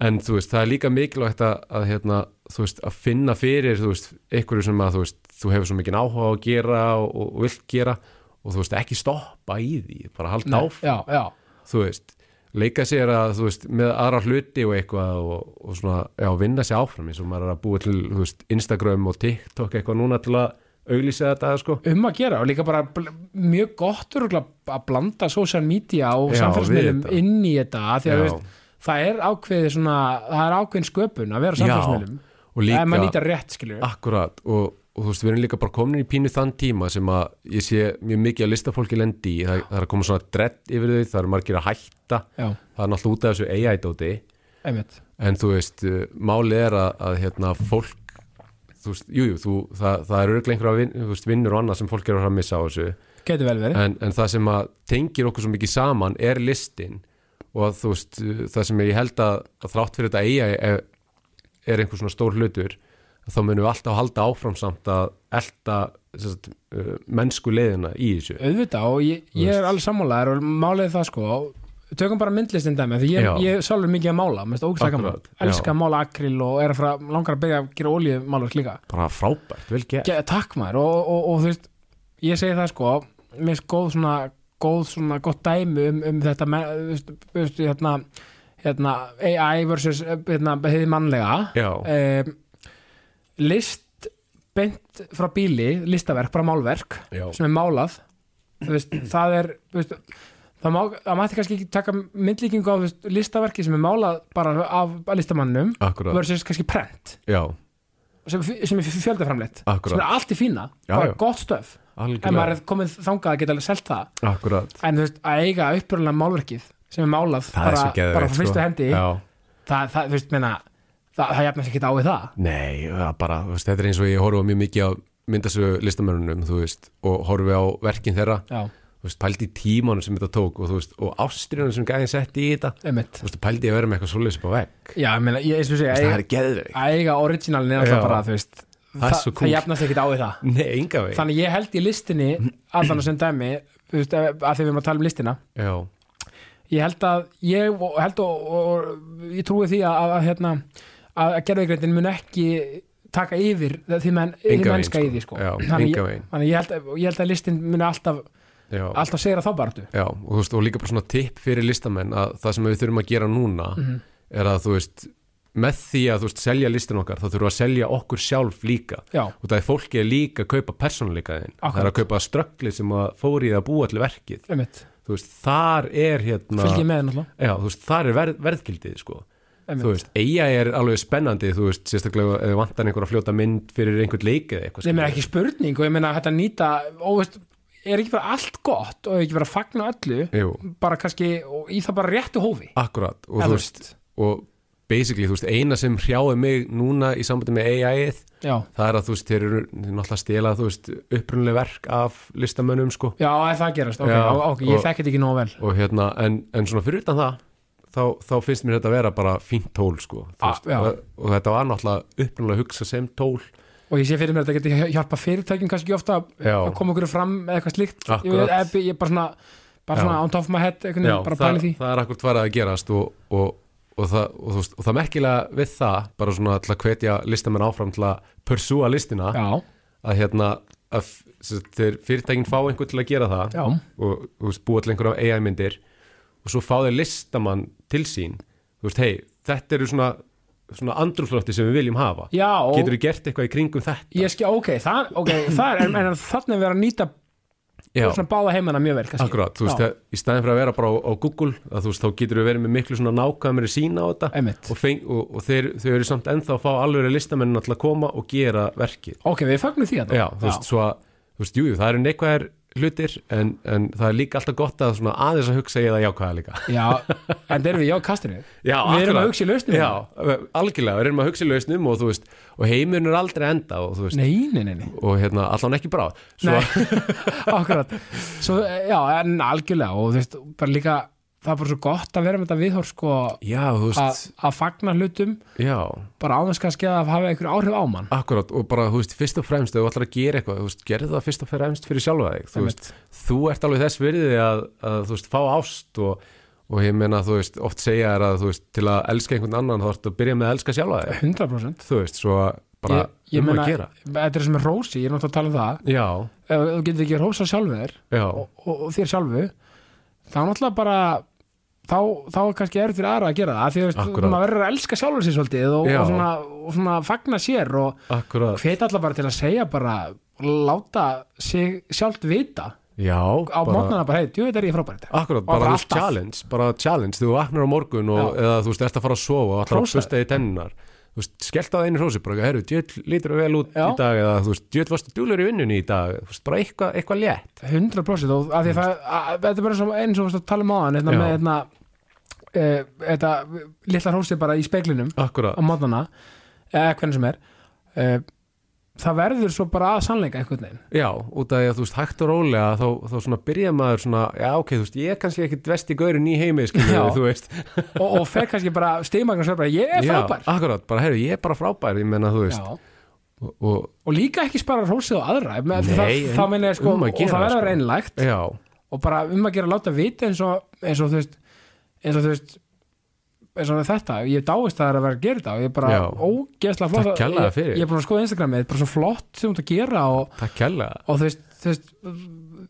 B: en þú veist, það er líka mikilvægt að, að hérna, þú veist, að finna fyrir þú veist, einhverju sem að þú veist, þú hefur svo mikið áhuga á að gera og, og, og vilt gera og þú veist, ekki stoppa í því bara halda
A: Nei,
B: áfram,
A: Já, já,
B: þú veist leika sér að, þú veist, með aðra hluti og eitthvað og, og svona, já, vinna sér áfram eins og maður er að búa til, þú veist, Instagram og TikTok eitthvað núna til að auglýsa þetta, sko
A: um að gera og líka bara bl- mjög gott örugglega að blanda social media og
B: Já,
A: samfélagsmiðlum
B: við þetta.
A: inn í þetta af því að þú
B: Já.
A: veist, það er ákveðið svona, það er ákveðin sköpun að vera á samfélagsmiðlum
B: og
A: ef maður
B: líka, Ah.
A: nýtar rétt skilur
B: akkurat og, og þú veist, við erum líka bara komin í pínu þann tíma sem að ég sé mjög mikið að listafólki lendi í, það, það er að koma svona dredd yfir þau, það eru margir að hætta
A: já,
B: það er náttúrulega út af þessu AI-dóti
A: einmitt
B: en þú veist, uh, málið er að, að hérna, fólk þú veist, jújú, jú, þú- það, það er örglega einhverja vin, þú veist, vinnur og annað sem fólk er að fara að missa á þessu
A: Gæti vel verið,
B: en, en það sem að tengir okkur svo mikið saman er listin og að, þú veist, uh, það sem ég held að, að þrátt fyrir þetta eiga er, er einhver svona stór hlutur þá munum við alltaf halda áfram samt að elta sem sagt, uh, mennsku leiðina í þessu
A: auðvitað og ég, ég er alveg sammálaðar og málið er það sko tökum bara myndlistin dæmi, því ég,
B: Já.
A: ég er sjálfur mikið að mála, mér finnst það ógæslega gaman
B: Akkurat, já.
A: elska að mála akril og er að fara langar að byrja að gera olíumálur líka
B: bara frábært, vel gert
A: Ge takk maður og, og, og, þú veist ég segi það sko, mér finnst góð svona góð svona gott dæmi um, um þetta me- þú veist, þú veist, hérna, hérna AI versus hérna, heiði mannlega
B: já,
A: um, list beint frá bíli, listaverk, bara málverk
B: já,
A: sem er málað þú veist, það er þú veist, það, má, það mætti kannski ekki taka myndlíkingu á þú veist, listaverki sem er málað bara af listamannum
B: akkurat
A: versus kannski prent
B: já,
A: sem, sem er fjöldaframleitt sem er
B: akkurat,
A: allt í fína,
B: Já,
A: bara
B: já.
A: gott stöf en maður
B: algjörlega
A: er komið þangað að geta selt það
B: akkurat,
A: en þú veist, að eiga uppröðlega málverkið sem er málað
B: það er
A: bara,
B: svo geðveikt
A: bara frá fyrstu
B: sko.
A: hendi
B: já,
A: það, það, þú veist, meina, það, það jafnast ekki á við það
B: Nei, það er bara, þú veist, þetta er eins og ég horfa mjög mikið á myndasögu listamörunum, þú veist, og horfi á verkin þeirra,
A: já,
B: þú veist, pældi í tímanum sem þetta tók og þú veist, og ástriðunum sem gæðin setti í þetta,
A: einmitt
B: þú veist, pældi ég að vera með eitthvað svoleiðis upp á vegg,
A: já, ég meina, ég, eins og
B: Þú
A: segja,
B: veist,
A: eiga,
B: það er geðveik.
A: að eiga orginalin er alltaf
B: Já.
A: bara, þú veist
B: Það er svo kúl.
A: það jafnast ekki á við það
B: Nei, enga veginn.
A: þannig ég held í listinni allan að sem dæmi þú veist, að því við erum að tala um listina
B: Já,
A: ég held að ég og- held og, og, og ég trúi því að, að, að hérna að, að gerðvigreindin mun ekki taka yfir því menn, því
B: Engan
A: mennska
B: veginn,
A: í því
B: sko.
A: sko
B: Já,
A: þannig,
B: engan
A: ég,
B: veginn.
A: þannig ég, held, að- ég held að listin mun alltaf,
B: já.
A: alltaf segja þá baratu
B: Já, og þú veist, og líka bara svona tipp fyrir listamenn að það sem við þurfum að gera núna er að, þú veist, með því að, þú veist, selja listin okkar, þá þurfum við að selja okkur sjálf líka.
A: já,
B: og það er fólki er líka að kaupa persónuleikaðin það er
A: Akkurat.
B: að kaupa ströggli sem að fóri í að búa allir verkið
A: einmitt,
B: þú veist, þar er hérna
A: fylgjið með náttúrulega
B: já, þú veist, þar er verð, verðgildið sko. þú
A: einmitt,
B: veist, eiga er alveg spennandi þú veist, sérstaklega ef þið vantar einhver að fljóta mynd fyrir einhvern leik eða eitthvað
A: sem er
B: skilur.
A: ekki spurning og ég meina þetta nýta og veist, er ekki bara allt gott og ekki bara að fagna öllu
B: Jú,
A: bara kannski, og í það bara réttu hófi
B: akkurat og,
A: Eða,
B: þú veist, og basically, þú veist, eina sem hrjáði mig núna í sambandi með AI-ið
A: já,
B: það er að þú veist, þeir eru náttúrulega að stela þú veist, upprunnileg verk af listamönnum sko.
A: já, ef það gerast ok,
B: Já,
A: já, ok, ég
B: og-
A: þekki þetta ekki nóg vel
B: og hérna, en, en svona fyrir utan það þá, þá finnst mér þetta að vera bara fínt tól sko, Þú
A: Ah, já.
B: og, og þetta var náttúrulega uppnálega hugsa sem tól
A: og ég sé fyrir mér að þetta geti hjálpa fyrirtækjum kannski ofta
B: Já.
A: að koma okkur fram með eitthvað slíkt ég,
B: Akkurat.
A: veit- ef- ég bara svona, bara
B: Já.
A: svona on top of my head einhvern veginn, bara
B: það,
A: pæli því
B: það er akkur tværað að gerast og, og, og, það, og, þú veist, og það merkilega við það, bara svona til að hvetja listamenn áfram til að pursúa listina
A: já,
B: að hérna að, f- sem sagt, þeir fyrirtækin fá einhvern til að gera það
A: já,
B: og þú veist, búa til einhverja AI myndir og svo fá þeir listamann til sín þú veist, hei, þetta eru svona svona andrúflótti sem við viljum hafa
A: já
B: getur þú gert eitthvað í kringum þetta
A: ég skil, ok, það, okay, það er en, en þannig að vera að nýta
B: já,
A: svona báða heimana mjög vel kannski
B: akkurat, þú veist,
A: Já.
B: að, í staðin fyrir að vera bara á, á Google að, þú veist, þá getur þú verið með miklu svona nákvæmri sína á þetta
A: Einmitt.
B: og, feng, og, og þeir, þau eru samt ennþá að fá alveg listamennin til að koma og gera verkið
A: ok, við fagnum því að
B: já, þú veist, svo að, þú veist, jújú, það eru neikvæðar hlutir en, en það er líka alltaf gott að svona aðeins að hugsa ég það jákvæða líka
A: já, en það erum við já kastinu
B: Já,
A: við erum
B: akkurat.
A: að hugsa í lausnum
B: Já, algjörlega, við erum að hugsa í lausnum og þú veist, og heimurinn er aldrei að enda og þú veist,
A: nei, nei, nei, nei.
B: og hérna, allan ekki brá svo,
A: Nei, akkurat svo, já, en algjörlega og þú veist, bara líka, það er bara svo gott að vera með þetta viðhorf sko
B: já, þú
A: að
B: veist,
A: að fagna hlutum
B: já
A: bara áðans kannski að hafa einhver áhrif á mann
B: Akkurat, og bara, þú veist, fyrst og fremst ef þú ætlar að gera eitthvað, þú veist, gerðu það fyrst og fremst fyrir sjálfa þig, þú veist, þú ert alveg þess virði að, að þú veist, fá ást og, og ég meina, þú veist, oft segja er að, þú veist, til að elska einhvern annan þá ertu að byrja með að elska sjálfa þig
A: 100%
B: þú veist, svo að bara
A: ég
B: um
A: meina,
B: að gera
A: þetta er sem er rósi, ég er náttúrulega að tala um það
B: Já,
A: ef þú getur ekki rósa sjálfu þér
B: já,
A: og, og, og þér sjálfu þá náttúrulega bara þá, þá er kannski erfitt fyrir aðra að gera það af því að þú veist,
B: Akkúrat.
A: maður verður að elska sjálfur sér svolítið og,
B: Já.
A: og, svona, og svona fagna sér og
B: akkurat
A: hveit allar bara til að segja bara láta sig sjálft vita
B: Já,
A: á mótnana bara, hei, djú, þetta er ég frábært
B: Akkurat,
A: Og
B: bara,
A: bara
B: þú veist,
A: alltaf.
B: challenge, bara challenge, þegar þú vaknar á morgun og,
A: Já.
B: eða þú veist, ert að fara að sofa og ætlar að
A: Hrósa
B: busta í tennunar þú veist, skellta það einu hrósi bara, herru, djöll lítur vel út
A: Já.
B: í dag eða þú veist, djöll varstu dúlur í vinnunni í dag þú veist, bara eitthvað, eitthvað létt
A: 100% og af því það, að, þetta er bara svo, eins og við varst að tala um áðan hérna,
B: Mm. Já.
A: með hérna, e, þetta litla hrósið bara í speiklinum á
B: Akkurat,
A: mótana eða hvernig sem er e, það verður svo bara að sannleika einhvern veginn
B: já, út af því að þú veist, hægt og rólega þá, þá svona byrja maður svona já, ok, þú veist, ég er kannski ekkit vesti gaurin í heimi
A: Já.
B: skilur, þú veist
A: og, og fer kannski bara stigmagan sér bara ég er
B: Já,
A: frábær
B: akkurat, bara, herru, ég er bara frábær ég menna, þú veist,
A: Já.
B: og, og
A: og líka ekki spara hrósið á aðra Nei, það,
B: Nei,
A: það,
B: um-
A: það meina ég sko
B: um að
A: og
B: gera
A: það
B: það,
A: verður
B: sko.
A: reynlægt
B: já,
A: og bara um að gera láta vita eins og, eins og þú veist eins og þú veist eins og þetta, ég dáist að það er að vera að gera þetta og ég er bara
B: Já.
A: ógeðslega flott
B: Takk kærlega
A: ég,
B: fyrir.
A: ég er búin að skoða Instagramið, þetta er bara svo flott sem þú ert að gera og,
B: takk kella
A: og þú, veist, þú veist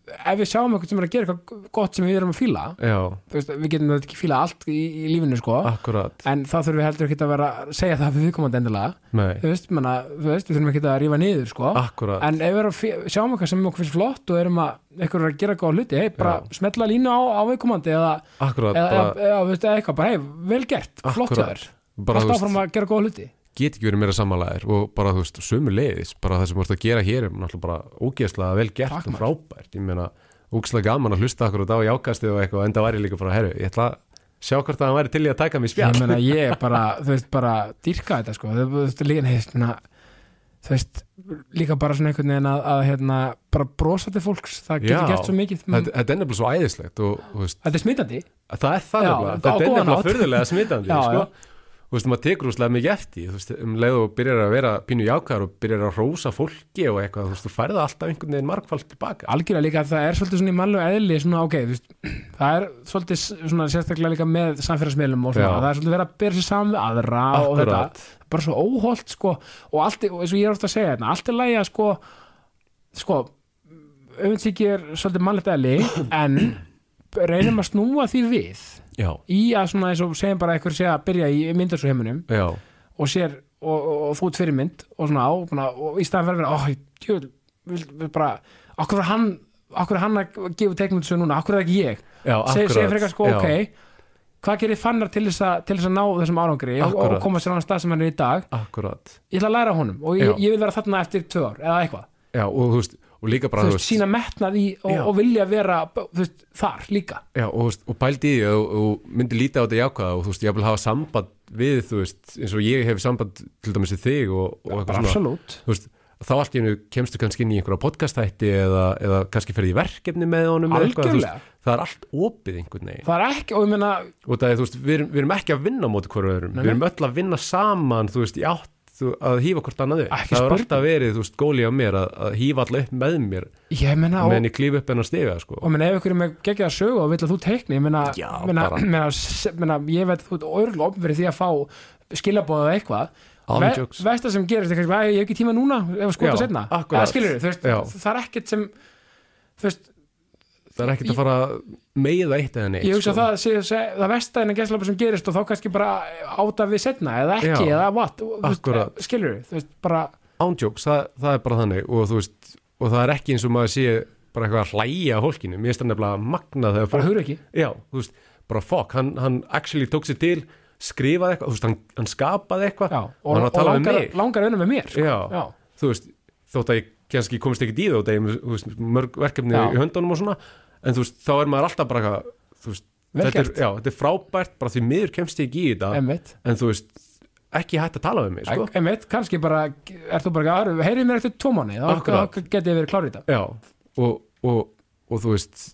A: ef við sjáum eitthvað sem er að gera eitthvað gott sem við erum að fíla
B: já,
A: þú veist, við getum þetta ekki fíla allt í, í lífinu sko,
B: akkurat,
A: en þá þurfum við heldur ekki að vera að segja það við viðkomandi endilega
B: nei
A: þú veist, manna, þú veist, við þurfum ekki að rífa niður sko,
B: akkurat,
A: en ef við erum að fí- sjáum eitthvað sem okkur finnst flott og erum að eitthvað er að gera góða hluti, hei, bara
B: Já.
A: smetla línu á, á viðkomandi eða,
B: akkurat
A: eða, eða,
B: bara,
A: eða, þú veist, eða eitthvað, bara hei, vel gert flott hjá
B: Akkúrat.
A: þér,
B: bara,
A: allt
B: þú
A: áfram
B: veist,
A: að gera góða hluti
B: get ekki verið meira sammálaðir og bara, þú veist, sömu leiðis bara það sem voru að gera hér er náttúrulega bara ógeðslega vel gert
A: Takk,
B: og frábært ég meina, ógeðslega gaman að hlusta akkurat á í ákastið og eitthvað, enda var ég líka bara, herru, ég ætla að sjá hvort það væri til í að taka mér
A: ég
B: spjall
A: meina, ég bara, þú veist, bara dýrka þetta, sko, þú veist, líka neist, meina, þú veist, líka bara svona einhvern veginn að, að hérna, bara brosa til fólks, það getur
B: Já.
A: gert svo mikið
B: þetta, þetta er nefnilega svo æðislegt og, þú veist,
A: þetta er smitandi
B: það er það
A: Já,
B: nefnilega,
A: á
B: þetta er
A: góðan hátt.
B: nefnilega furðulega smitandi
A: Já, já.
B: sko. þú veist, maður tekur úslega mikið eftir þú veist, um leið og byrjar að vera pínu jákar og byrjar að rósa fólki og eitthvað þú veist, þú færða alltaf einhvern veginn margfald tilbaka
A: algjörlega líka að það er svolítið svona í mannlu eðli svona ok, þú veist, það er svolítið s- svona sérstaklega líka með samfélagsmiðlum og svona,
B: Já.
A: það er svolítið verið að bera sér saman við aðra og þetta,
B: Akkúrat.
A: bara svo óholt sko, og allt, er- og eins og ég er ofta að segja þetta allt er lægi að sko sko, auðvitað er svolítið mannlegt eðli, en reynum að snúa því við
B: já,
A: í að svona eins og segjum bara eitthvað sé að byrja í myndarsóheiminum
B: já,
A: og sér og, og, og þú ert fyrirmynd og svona á búna, og í staðan verður að vera, ó, djöl, vil, vil bara, okkur er hann okkur er hann að gefa teiknum þessu núna okkur er það ekki ég,
B: já,
A: segir seg
B: akkurat,
A: frekar sko,
B: já,
A: ok hvað gerir fannar til þess, að, til þess að ná þessum árangri og, og
B: Akkúrat.
A: koma sér á hann stað sem hann er í dag
B: akkurat
A: ég ætla að læra af honum og ég,
B: Já.
A: ég vil vera þarna eftir tvö ár eða eitthvað,
B: já, og þú veist, og líka bara
A: þú veist, sína metnað í og,
B: Já.
A: og vilja vera, þú veist, þar líka
B: Já, og, þú veist, og pældi í því og, og myndi líta á þetta jákvæða og þú veist, ég vil hafa samband við, þú veist, eins og ég hef samband til dæmis við þig og, og eitthvað svona
A: absolutt,
B: þú veist, þá allt í hennu kemstu kannski inn í einhverja podcastætti eða, eða kannski ferði í verkefni með honum eða eitthvað, þú
A: Algjörlega.
B: veist, það er allt opið einhvern veginn
A: það er ekki og ég meina,
B: og það er, þú veist, við erum, við erum ekki að vinna á móti hverju öðrum,
A: Nei, nei.
B: við erum öll að vinna saman þú veist, í átt þú, að hýfa hvort annað upp
A: Ekki
B: það
A: spurning.
B: er alltaf verið, þú veist, góli á mér að, að hýfa alltaf upp með mér
A: ég meina og,
B: meðan ég klíf upp hennar stiga, sko
A: og menn ef ykkur er með geggjaða sögu og vill að þú teikni ég meina,
B: Já,
A: meina,
B: bara.
A: meina, s- meina ég veit að þú ert örgulega opn fyrir því að fá skilabóða eða eitthvað
B: Án
A: Ve-
B: jokes.
A: versta sem gerist er kannski að ég hef ekki tíma núna ef að skota
B: Já,
A: setna
B: akkurat.
A: skilur, þú veist,
B: Já.
A: það er ekkert sem þú veist,
B: það er ekkert að fara að meiða eitt eða neitt
A: ég hugsa
B: sko.
A: sko. það, sé, sé, það versta en að gesslapa sem gerist og þá kannski bara áta við setna eða ekki
B: Já.
A: eða what, þú
B: Akkurat.
A: veist, skilur, þú veist, bara
B: ándjóks, það, það er bara þannig og þú veist, og það er ekki eins og maður sé bara eitthvað að hlæja að fólkinu, mér finnst það nefnilega magnað þegar
A: bara
B: fólk
A: hugur ekki
B: já, þú veist, bara fokk, hann, hann actually tók sér til, skrifaði eitthvað þú veist, hann, hann skapaði eitthvað
A: Já,
B: og
A: og
B: hann var að tala um
A: langar,
B: mig
A: langar önum með mér sko.
B: já,
A: Já.
B: þú veist, þótt að ég kannski komist ekki dýð á degum, þú veist, mörg verkefni
A: Já.
B: í höndunum og svona, en þú veist, þá er maður alltaf bara eitthvað, þú veist,
A: Vel
B: þetta er,
A: gert.
B: já, þetta er frábært, bara því miður kemst ég ekki í þetta,
A: Einmitt.
B: en þú veist ekki hætt að tala við mig, sko
A: einmitt, kannski bara er þú bara, "Aru, heyrið mér eftir tvo manni þá
B: Akkurat.
A: geti ég verið klár í þetta
B: Já, og, og, og þú veist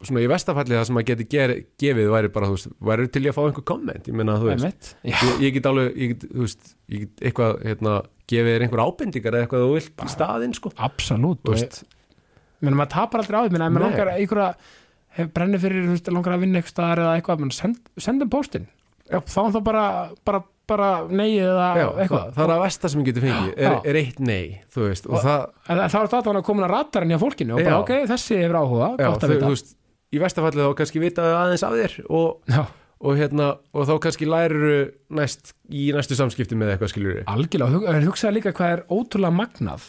B: svona í vestafalli það sem maður geti ger, gefið væri bara, þú veist, væri til ég að fá einhver komment ég meina, þú veist,
A: einmitt, já,
B: ég, ég get alveg ég get, þú veist, ég get eitthvað, hérna gefið þér einhver ábendingar eða eitthvað þú vilt í staðinn, sko,
A: absolutt
B: þú
A: og
B: veist
A: ég- menn maður tapar aldrei á því, menn ef maður
B: Nei.
A: langar einhverja hef brennir fyrir, þú veist, langar að vinna eitthvað staðar eða eitthvað, menn send, sendum póstinn já. þá er það bara, bara, bara neyið eða
B: Já,
A: eitthvað
B: það, það er að vesta sem ég geti fengið, er,
A: Já.
B: er eitt nei þú veist, og,
A: Og-
B: það,
A: en þá er þetta að komin að ratarinn hjá fólkinu og bara,
B: Já.
A: ok, þessi hefur áhuga,
B: já,
A: gott
B: þau,
A: að vita
B: þú veist í vestafalli þá kannski vitaðu aðeins af þér og,
A: já,
B: og hérna, og þá kannski læriru næst, í næstu samskipti með eitthvað skiljur
A: algjörlega, og hug- en hugsaðu líka hvað er ótrúlega magnað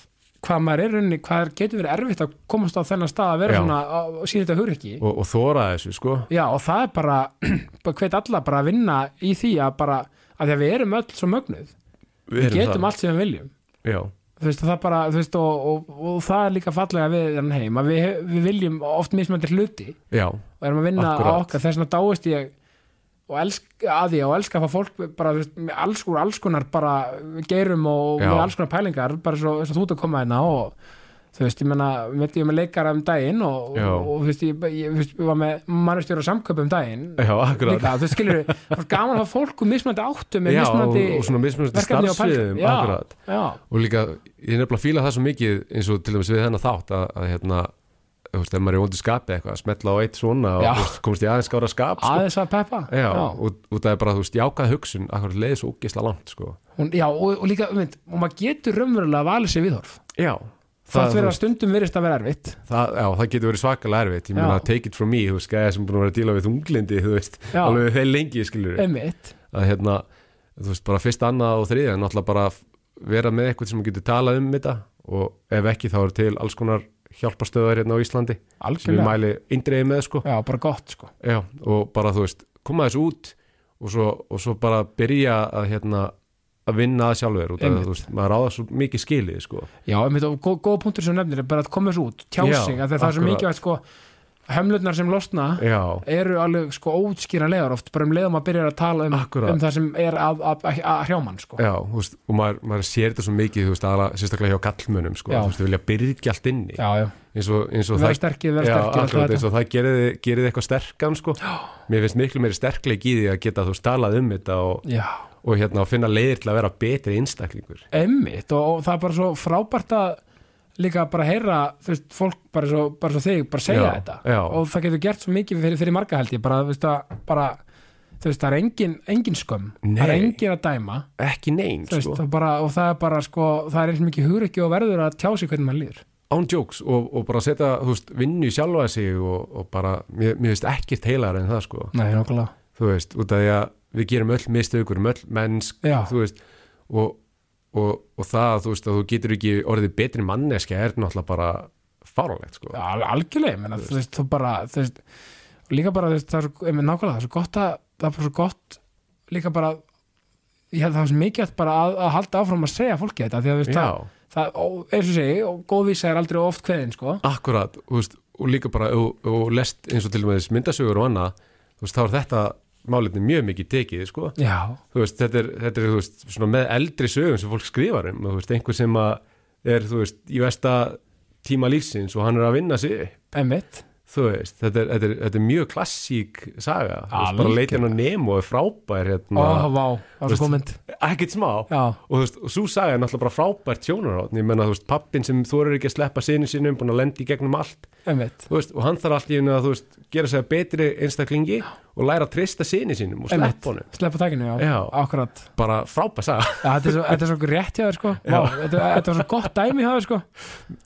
A: hvað maður er runni, hvað er, getur verið erfitt að komast á þennan stað að vera
B: Já.
A: svona á- og sína þetta hugur ekki
B: og, og þóra þessu, sko
A: Já og það er bara, bara hvet alla bara að vinna í því að bara að því að við erum öll svo mögnuð
B: við
A: við
B: erum
A: getum
B: það.
A: allt sem við viljum
B: já,
A: þú veist, og það bara, þú veist, og, og, og það er líka fallega við hann heim að við, við viljum oft mismöndir hluti
B: já,
A: og erum að vinna á
B: Akkúrat.
A: okkar þess vegna dáist ég og elska að ég og elska að fá fólk bara þú veist, með alls, úr alls konar bara geirum og
B: Já.
A: með alls konar pælingar bara svo, svo þú ert að koma hérna og þú veist, ég menna, veit ég með leikara um daginn og,
B: Já.
A: og, og þú veist, ég, ég, þú veist, ég var með mannustjóra samköp um daginn
B: já, akkurat
A: líka, þú skilur, það var gaman að hafa fólk um mismunandi áttum, með
B: já, og,
A: mismunandi
B: og svona mismunandi
A: verkefni og
B: starfsviðum
A: pælingar. Já.
B: akkurat
A: já,
B: og líka, ég er nefnilega að fíla það svo mikið eins og til dæmis við hennar þátt að, að hérna, þú veist, ef maður er vondur skapi eitthvað að smetla á eitt svona og
A: Já.
B: þú veist, komst í aðeins skára skap sko.
A: aðeins að peppa
B: já, og, og það er bara, þú veist, jákað hugsun akkur leiði svo ógisla langt, sko
A: Hún, já og, og líka, um veit, og maður getur raunverulega valið sér viðhorf,
B: já,
A: það,
B: það,
A: það
B: þú
A: vera
B: veist,
A: stundum virðist að vera erfitt
B: það, já, það getur verið svakalega erfitt ég meina,
A: Já.
B: take it from me, þú veist, gæði sem búin að vera að díla við þunglindi, þú veist,
A: Já.
B: alveg þeir lengi skilur,
A: einmitt
B: að hérna, þú veist, bara fyrst annað og þriðja, en náttúrulega bara f- vera með eitthvað sem getur talað um þetta og ef ekki þá eru til alls konar hjálparstöðar hérna á Íslandi sem ég
A: algjörlega,
B: mæli eindreiði með sko
A: já bara gott sko
B: Já, og bara þú veist, koma þessu út og svo, og svo bara byrja að hérna að vinna að sjálfur út af því
A: Einmitt.
B: að þú veist, maður ráða svo mikið skilið sko,
A: já, einmitt, og góð, góð punktur sem þú nefnir er bara að koma þessu út, tjá
B: Já,
A: sig af því að það er svo
B: akkurat.
A: mikilvægt sko, hömlurnar sem losna
B: já,
A: eru alveg sko ótskýra legar oft, bara um leiðum að byrja að tala um,
B: Akkurat.
A: um það sem er að, að, að, að hrjáman sko,
B: já, þú veist og maður, maður sér þetta svo mikið, þú veist, aðra sérstaklega hjá kallmönum sko,
A: Já.
B: þú veist, þau vilja byrja allt inni,
A: já, já,
B: eins og, eins og
A: vera
B: það
A: sterkið, vera
B: Já,
A: sterkið og allt
B: akkurat,
A: þetta.
B: eins og það gerir, gerir eitthvað sterkan sko. mér finnst miklu meiri sterkleik í því að geta þú veist, talað um þetta og,
A: já,
B: og hérna, og finna leiðir til að vera betri einstaklingur
A: einmitt og, og það er bara svo frábært að líka bara heyra, þú veist, fólk bara svo, bara svo þig, bara segja
B: Já,
A: þetta
B: já.
A: og það getur gert svo mikið fyrir, fyrir marga held ég bara, þú veist, að, bara, þú veist, það er engin, engin skömm, það er
B: Nei.
A: engin að dæma
B: ekki neyn,
A: þú veist,
B: sko.
A: það bara, og það er bara sko, það er eins mikið hugur ekki og verður að tjá sig hvernig maður líður
B: án jokes og, og bara setja þú veist, vinnu í sjálfa sig og, og bara, mér, mér veist ekkert heilar en það sko,
A: Nei, nokkulega
B: þú veist, út af því að við gerum öll mistökur, um öll mennsk
A: Já,
B: þú veist, og, og, og það þú veist, að þú getur ekki orðið betri manneska er náttúrulega bara fáránlegt sko,
A: al algjörlega, menna, þú veist, þú bara þú veist, og líka bara, þú veist, það er svo, einmitt nákvæmlega það er svo gott að, það er bara svo gott líka bara, ég held að það er svo mikið bara að, að halda áfram að segja fólki þetta því að, þú veist, það,
B: já,
A: það og, eins og segi, og góðvísa er aldrei oft kveðin, sko
B: akkurat þú veist, og líka bara, og, og lest eins og til og með myndasögur og annað, þú veist, þá er þetta málefni mjög mikið tekið sko
A: Já,
B: þú veist, þetta er, þetta er þú veist, svona með eldri sögum sem fólk skrifar um, þú veist, einhver sem að er, þú veist, í versta tíma lífsins og hann er að vinna sig, upp,
A: einmitt
B: þú veist, þetta er, þetta er, þetta er mjög klassík saga, þú veist, bara
A: Algjörlega.
B: leitin á Nemo er frábær,
A: Ó,
B: hérna,
A: vá, það var
B: Þú
A: svo komend
B: ekkert smá,
A: Já,
B: og þú veist, og svo saga er náttúrulega bara frábært tjónarátn, ég menna, þú veist, pappin sem þú eru ekki að sleppa sinni sinum, búin að lenda í gegnum allt,
A: einmitt
B: þú veist, og hann þarf allt í henni að, þú veist, gera sig að betri einstaklingi og læra að treysta sinni sinum og
A: Einmitt.
B: sleppa honum,
A: Sleppa takinu, já,
B: Já.
A: akkurat
B: bara frábær saga.
A: Já, Þetta er svo, þetta er svo rétt hjá þér, sko Vá, þetta, þetta var svo gott dæmi hjá þér, sko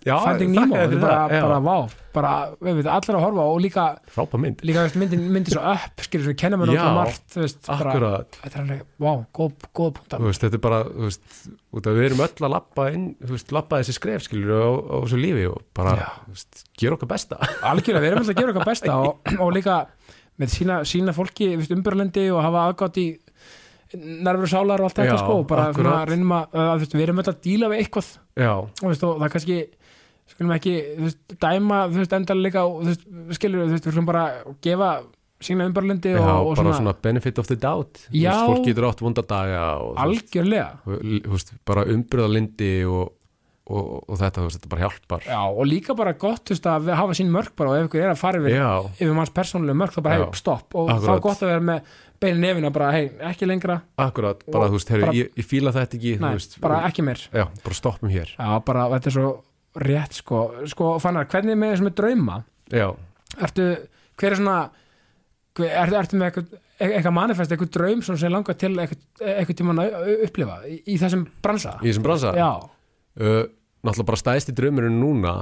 B: Já,
A: Finding
B: þakka
A: Nemo,
B: þér
A: þetta
B: fyrir
A: er bara,
B: það, já.
A: bara vá bara, við veit, allir að horfa á og líka,
B: frábær mynd
A: líka veist, myndin, myndin svo upp skilur svo, kenna mér
B: Já,
A: náttúrulega margt þú veist, bara,
B: akkurat,
A: þetta er alveg, vá, góð, góð punktar
B: þú veist, þetta er bara þú veist, út að við erum öll að lappa inn þú veist, lappa þessi skref skilur á, á þessu lífi og bara,
A: Já.
B: þú veist, gera okkar besta
A: algjörlega, við erum alltaf að gera okkar besta og, og líka með sína, sína fólki umbyrlendi og hafa aðgátt í nervur sálar og allt þetta
B: Já,
A: sko, og bara svona,
B: akkurat.
A: reynum að, að þú veist, við erum alltaf að díla við eitthvað
B: Já,
A: og, veist, og það kannski skulum ekki þú veist, dæma þú veist, endalega og, þú veist, skilur, þú veist, við skulum bara gefa sína umbyrlendi
B: já
A: og,
B: bara
A: og
B: svona, benefit of the doubt Þú
A: Já.
B: veist, fólk getur átt vondadaga og þú veist,
A: algjörlega
B: og, þú veist, bara umbröðalindi og, og, og þetta, þú veist, þetta bara hjálpar
A: Já, og líka bara gott þú veist, að við hafa sín mörk bara og ef ykkur er að fara yfir,
B: Já,
A: yfir manns persónulega mörk þá bara
B: Já.
A: hefur stopp og þá
B: Akkurat.
A: er gott að vera með beinu nefina bara, hei, ekki lengra
B: akkurat, bara,
A: Og
B: þú veist, herri,
A: bara-
B: ég, ég fíla þetta ekki þú
A: nei,
B: veist,
A: bara ekki meir
B: Já, bara stoppum hér
A: Já, bara þetta er svo rétt sko, sko fannar, hvernig er með þessum með drauma
B: Já,
A: ertu, hver er svona hver, er, ertu með eitthvað, e-, eitthvað manifest eitthvað draum svona sem langar til eitthvað, eitthvað tímann að upplifa í, í þessum bransa
B: í þessum bransa
A: Já,
B: uh, náttúrulega bara stæðsti draumurinn núna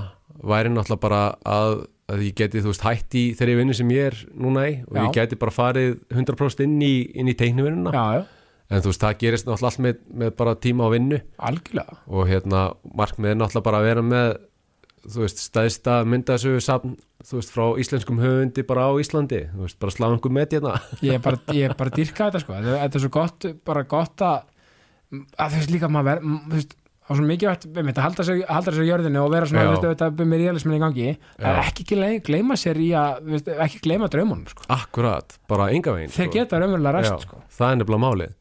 B: væri náttúrulega bara að, að ég geti þú veist hætt í þeirri vinnu sem ég er núna í og ég
A: Já.
B: geti bara farið 100% inn í, inn í teiknuvinnuna
A: já, já,
B: en þú veist það gerist náttúrulega allt með, með bara tíma á vinnu
A: algjörlega
B: og hérna markmið er náttúrulega bara að vera með þú veist stæðsta myndasögu safn þú veist frá íslenskum höfundi bara á Íslandi þú veist bara slá einhver með hérna
A: ég er bara, ég er bara dýrka þetta sko þetta, þetta er svo gott, bara gott að að þú veist líka maður ver, m- þú veist, það er svo mikilvægt einmitt, að halda sér, halda sér á jörðinu og vera svona
B: Já.
A: þú veist, auðvitað, með realismin í gangi að
B: Já.
A: ekki gle- gleyma sér í að þú veist, ekki gleyma draumunum sko.
B: akkurat, bara enga veginn
A: þeir geta raunverulega ræst sko.
B: það er nefnilega málið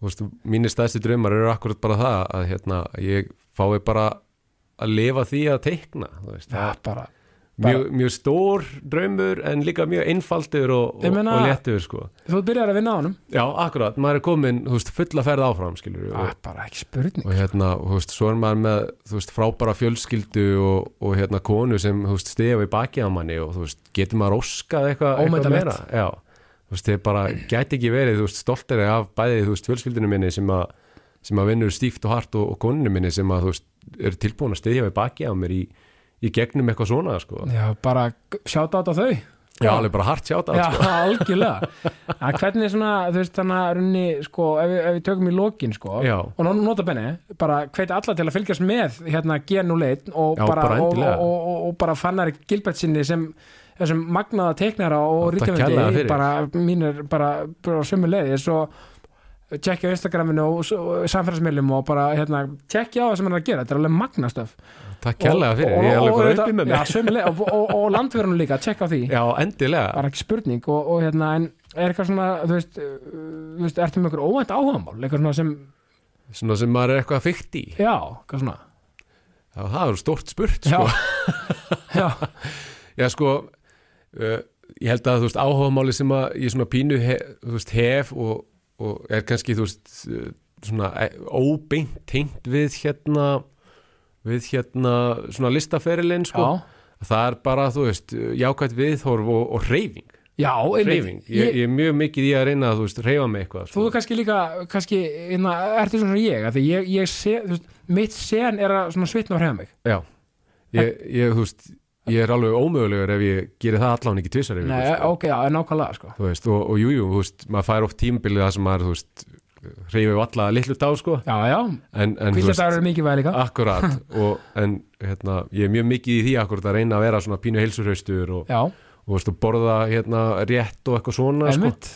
B: Þú veist, mínir stæðstu draumar eru akkurat bara það að hérna, ég fái bara að lifa því að teikna þú veist,
A: það er bara bara-
B: mjög, mjög stór draumur en líka mjög einfaldur og,
A: Ég
B: og,
A: meina-
B: og léttur sko.
A: þú byrjar að vinna á honum
B: já, akkurat, maður er komin þú veist, fulla ferð áfram skilur
A: það er bara ekki spurning
B: og hérna, og, þú veist, svo er maður með þú veist, frábæra fjölskyldu og, og hérna konu sem þú veist, stefa í baki á manni og þú veist, getur maður óskað eitthvað eitthvað
A: Ómetanlegt.
B: meira já, þú veist, þið bara gæti ekki verið þú veist, stoltari af bæði þú veist, fjölskyldinu minni sem að, sem að vinnur stíft og hart og, og koninu minni sem að þú veist, eru tilbúin að stefa í baki á mér í, í gegnum eitthvað svona sko.
A: já, bara sjáta á þau
B: já, alveg bara hart sjáta
A: Já,
B: sko.
A: algjörlega að hvernig svona, þú veist, þannig að runni, sko, ef, við- ef við tökum í lokin sko,
B: Já.
A: og nú- nota benni, bara hveit alla til að fylgjast með hérna genuleit og,
B: Já,
A: bara,
B: bara
A: og,
B: endilega.
A: og, og, og, bara fannar Gilbert sinni sem þessum magnaða teiknara og
B: Já, takk kærlega
A: rítumöndi
B: fyrir.
A: bara mínir, bara, bara á sömu leiðis og tjekkja á Instagraminu og, og samfélagsmiðlum og bara hérna, tjekkja á það sem hann er að gera, þetta er alveg magnastöf
B: takk kærlega fyrir, ég er alveg bara uppi með
A: Já,
B: mér
A: sömuleið, og, og, og landverunum líka, tjekka á því
B: já, endilega
A: bara ekki spurning og, og hérna en er eitthvað svona, þú veist, uh, þú veist ertu með einhver óvænt áhugamál, eitthvað svona sem
B: svona sem maður er eitthvað fyrkt í
A: já, eitthvað svona
B: já, það er stórt spurt
A: já,
B: sko.
A: já,
B: Já, sko, uh, ég held að þú veist áhugamáli sem að ég svona pínu he, þú veist, hef og, og er kannski þú veist uh, svona eh, óbeint tengt við hérna við hérna svona listaferilinn sko, það er bara þú veist uh, jákvæmt viðhorf og, og reyfing
A: já, einmitt.
B: reyfing, ég,
A: ég,
B: ég er mjög mikið í að reyna að þú veist reyfa mig eitthvað
A: þú
B: sko.
A: er kannski líka kannski, hérna, ertu svona svona ég af því ég, ég sé, þú veist, mitt sen er að svona svitna og hrefa mig
B: Já, ég, ég þú veist ég er alveg ómögulegur ef ég gerir það allan ekki tvissar yfir sko.
A: Nei, ok, já, nákvæmlega, sko
B: þú veist, og, og jú, jú, þú veist, maður fær oft tímabilið það sem maður, þú veist, reyfið alla litlu dá, sko,
A: já, já,
B: en, en þú
A: hvíta
B: veist,
A: dagur er mikið væð líka
B: akkurat, og, en, hérna, ég er mjög mikið í því akkurat að reyna að vera svona pínu heilsurhaustur og,
A: já,
B: og, þú veist, og borða, hérna, rétt og eitthvað svona, sko,
A: einmitt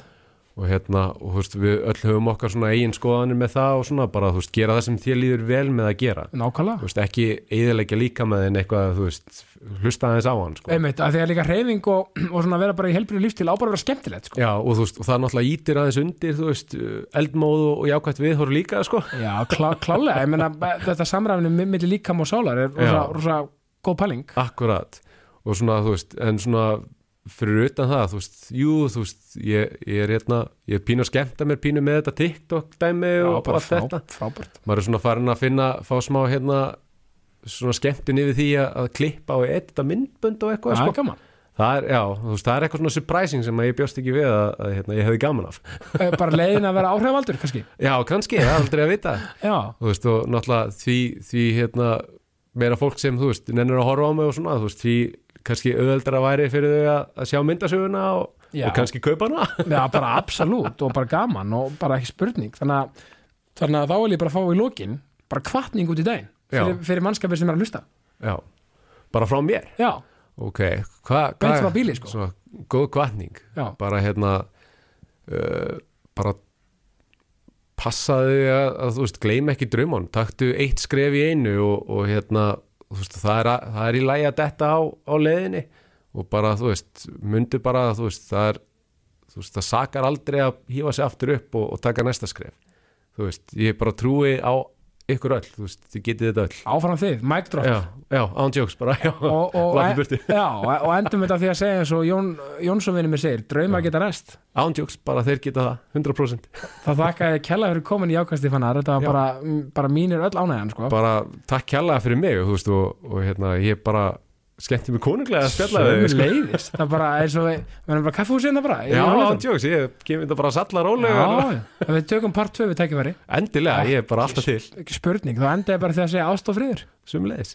B: og hérna, og þú veist, við öll höfum okkar svona eigin skoðanir með það og svona, bara, þú veist, gera það sem þér líður vel með að gera,
A: nákvæmlega,
B: þú veist, ekki eðilegja líka með þinn eitthvað, þú veist, hlusta aðeins á hann, sko.
A: einmitt, af því að líka hreyfing og, og svona vera bara í helbrið lífstil á bara að vera skemmtilegt, sko
B: Já, og þú veist, og það náttúrulega ítir aðeins undir, þú veist, eldmóð og, og jákvæmt viðhorf líka, sko.
A: já, klá, klálega, ég meina þetta samræfni millir líkam og sálar er rosa,
B: Já.
A: rosa góð pæling
B: Akkurat og svona þú veist en svona fyrir utan það þú veist, jú þú veist ég, ég er hérna, ég er pínu að skemmta mér pínu með þetta TikTok dæmi
A: Já,
B: og
A: bara
B: allt þetta
A: frábært
B: maður er svona farin að finna, fá smá hérna svona skemmtun yfir því að, að klippa og edita myndbönd og eitthvað
A: Það er
B: sko.
A: gaman
B: það er, já, þú veist, það er eitthvað svona surprising sem að ég bjóst ekki við að, að hérna, ég hefði gaman af
A: Eh, Bara leiðin að vera áhrifaldur kannski
B: já, kannski, það er aldrei að vita
A: Já,
B: þú veist, og náttúrulega því, því hérna, meira fólk sem, þú veist, nennir að horfa á mig og svona, þú veist, því kannski auðveldara væri fyrir þau að, að sjá myndasöguna og,
A: Já.
B: og kannski kaupa hana.
A: já bara absolút og bara gaman og bara ekki spurning Þannig að, þannig að þá vil ég bara fá í lokin bara kvartning út í daginn fyrir,
B: Já.
A: fyrir mannskapir sem er að hlusta
B: Já, bara frá mér.
A: Já,
B: Ok, hvað?
A: Beint frá bíli, sko.
B: Svona, góð kvartning.
A: já,
B: Bara, hérna, uh, bara passaðu að, að, þú veist, gleym ekki draumann. Taktu eitt skref í einu og, og hérna, þú veist, það er, að, það er í lægi að detta á, á leiðinni og bara, þú veist, myndu bara, að, þú veist, það er þú veist, það sakar aldrei að hýfa sig aftur upp og, og taka næsta skref þú veist, ég bara trúi á ykkur öll, þú veist, þið getið þetta öll
A: áfram þið, mic drop
B: já, já, án jokes bara, já,
A: Og, og, e-
B: láttu burtu
A: já, og endum þetta á því að segja eins og Jón, Jónsson vinni mér segir, draumar geta rest
B: án jokes, bara þeir geta það 100%,
A: það þakka ég kella fyrir komin í ákvæmsti fannar þetta var
B: Já.
A: bara, bara mínir öll ánægjan sko.
B: bara takk kjærlega fyrir mig, þú veist, og, og hérna ég bara skemmti mig konunglega að spjalla við þig,
A: Sömu leiðis Það er bara eins og við Við erum bara kaffehúsina bara í
B: sko. já, án
A: rólegheitum.
B: jokes, ég gefið þetta bara salla rólega,
A: já, já. Við tökum part 2 við tækifæri
B: endilega, ég er bara alltaf til
A: Ekki spurning, þá enda ég bara því að segja ást og friður
B: sumleis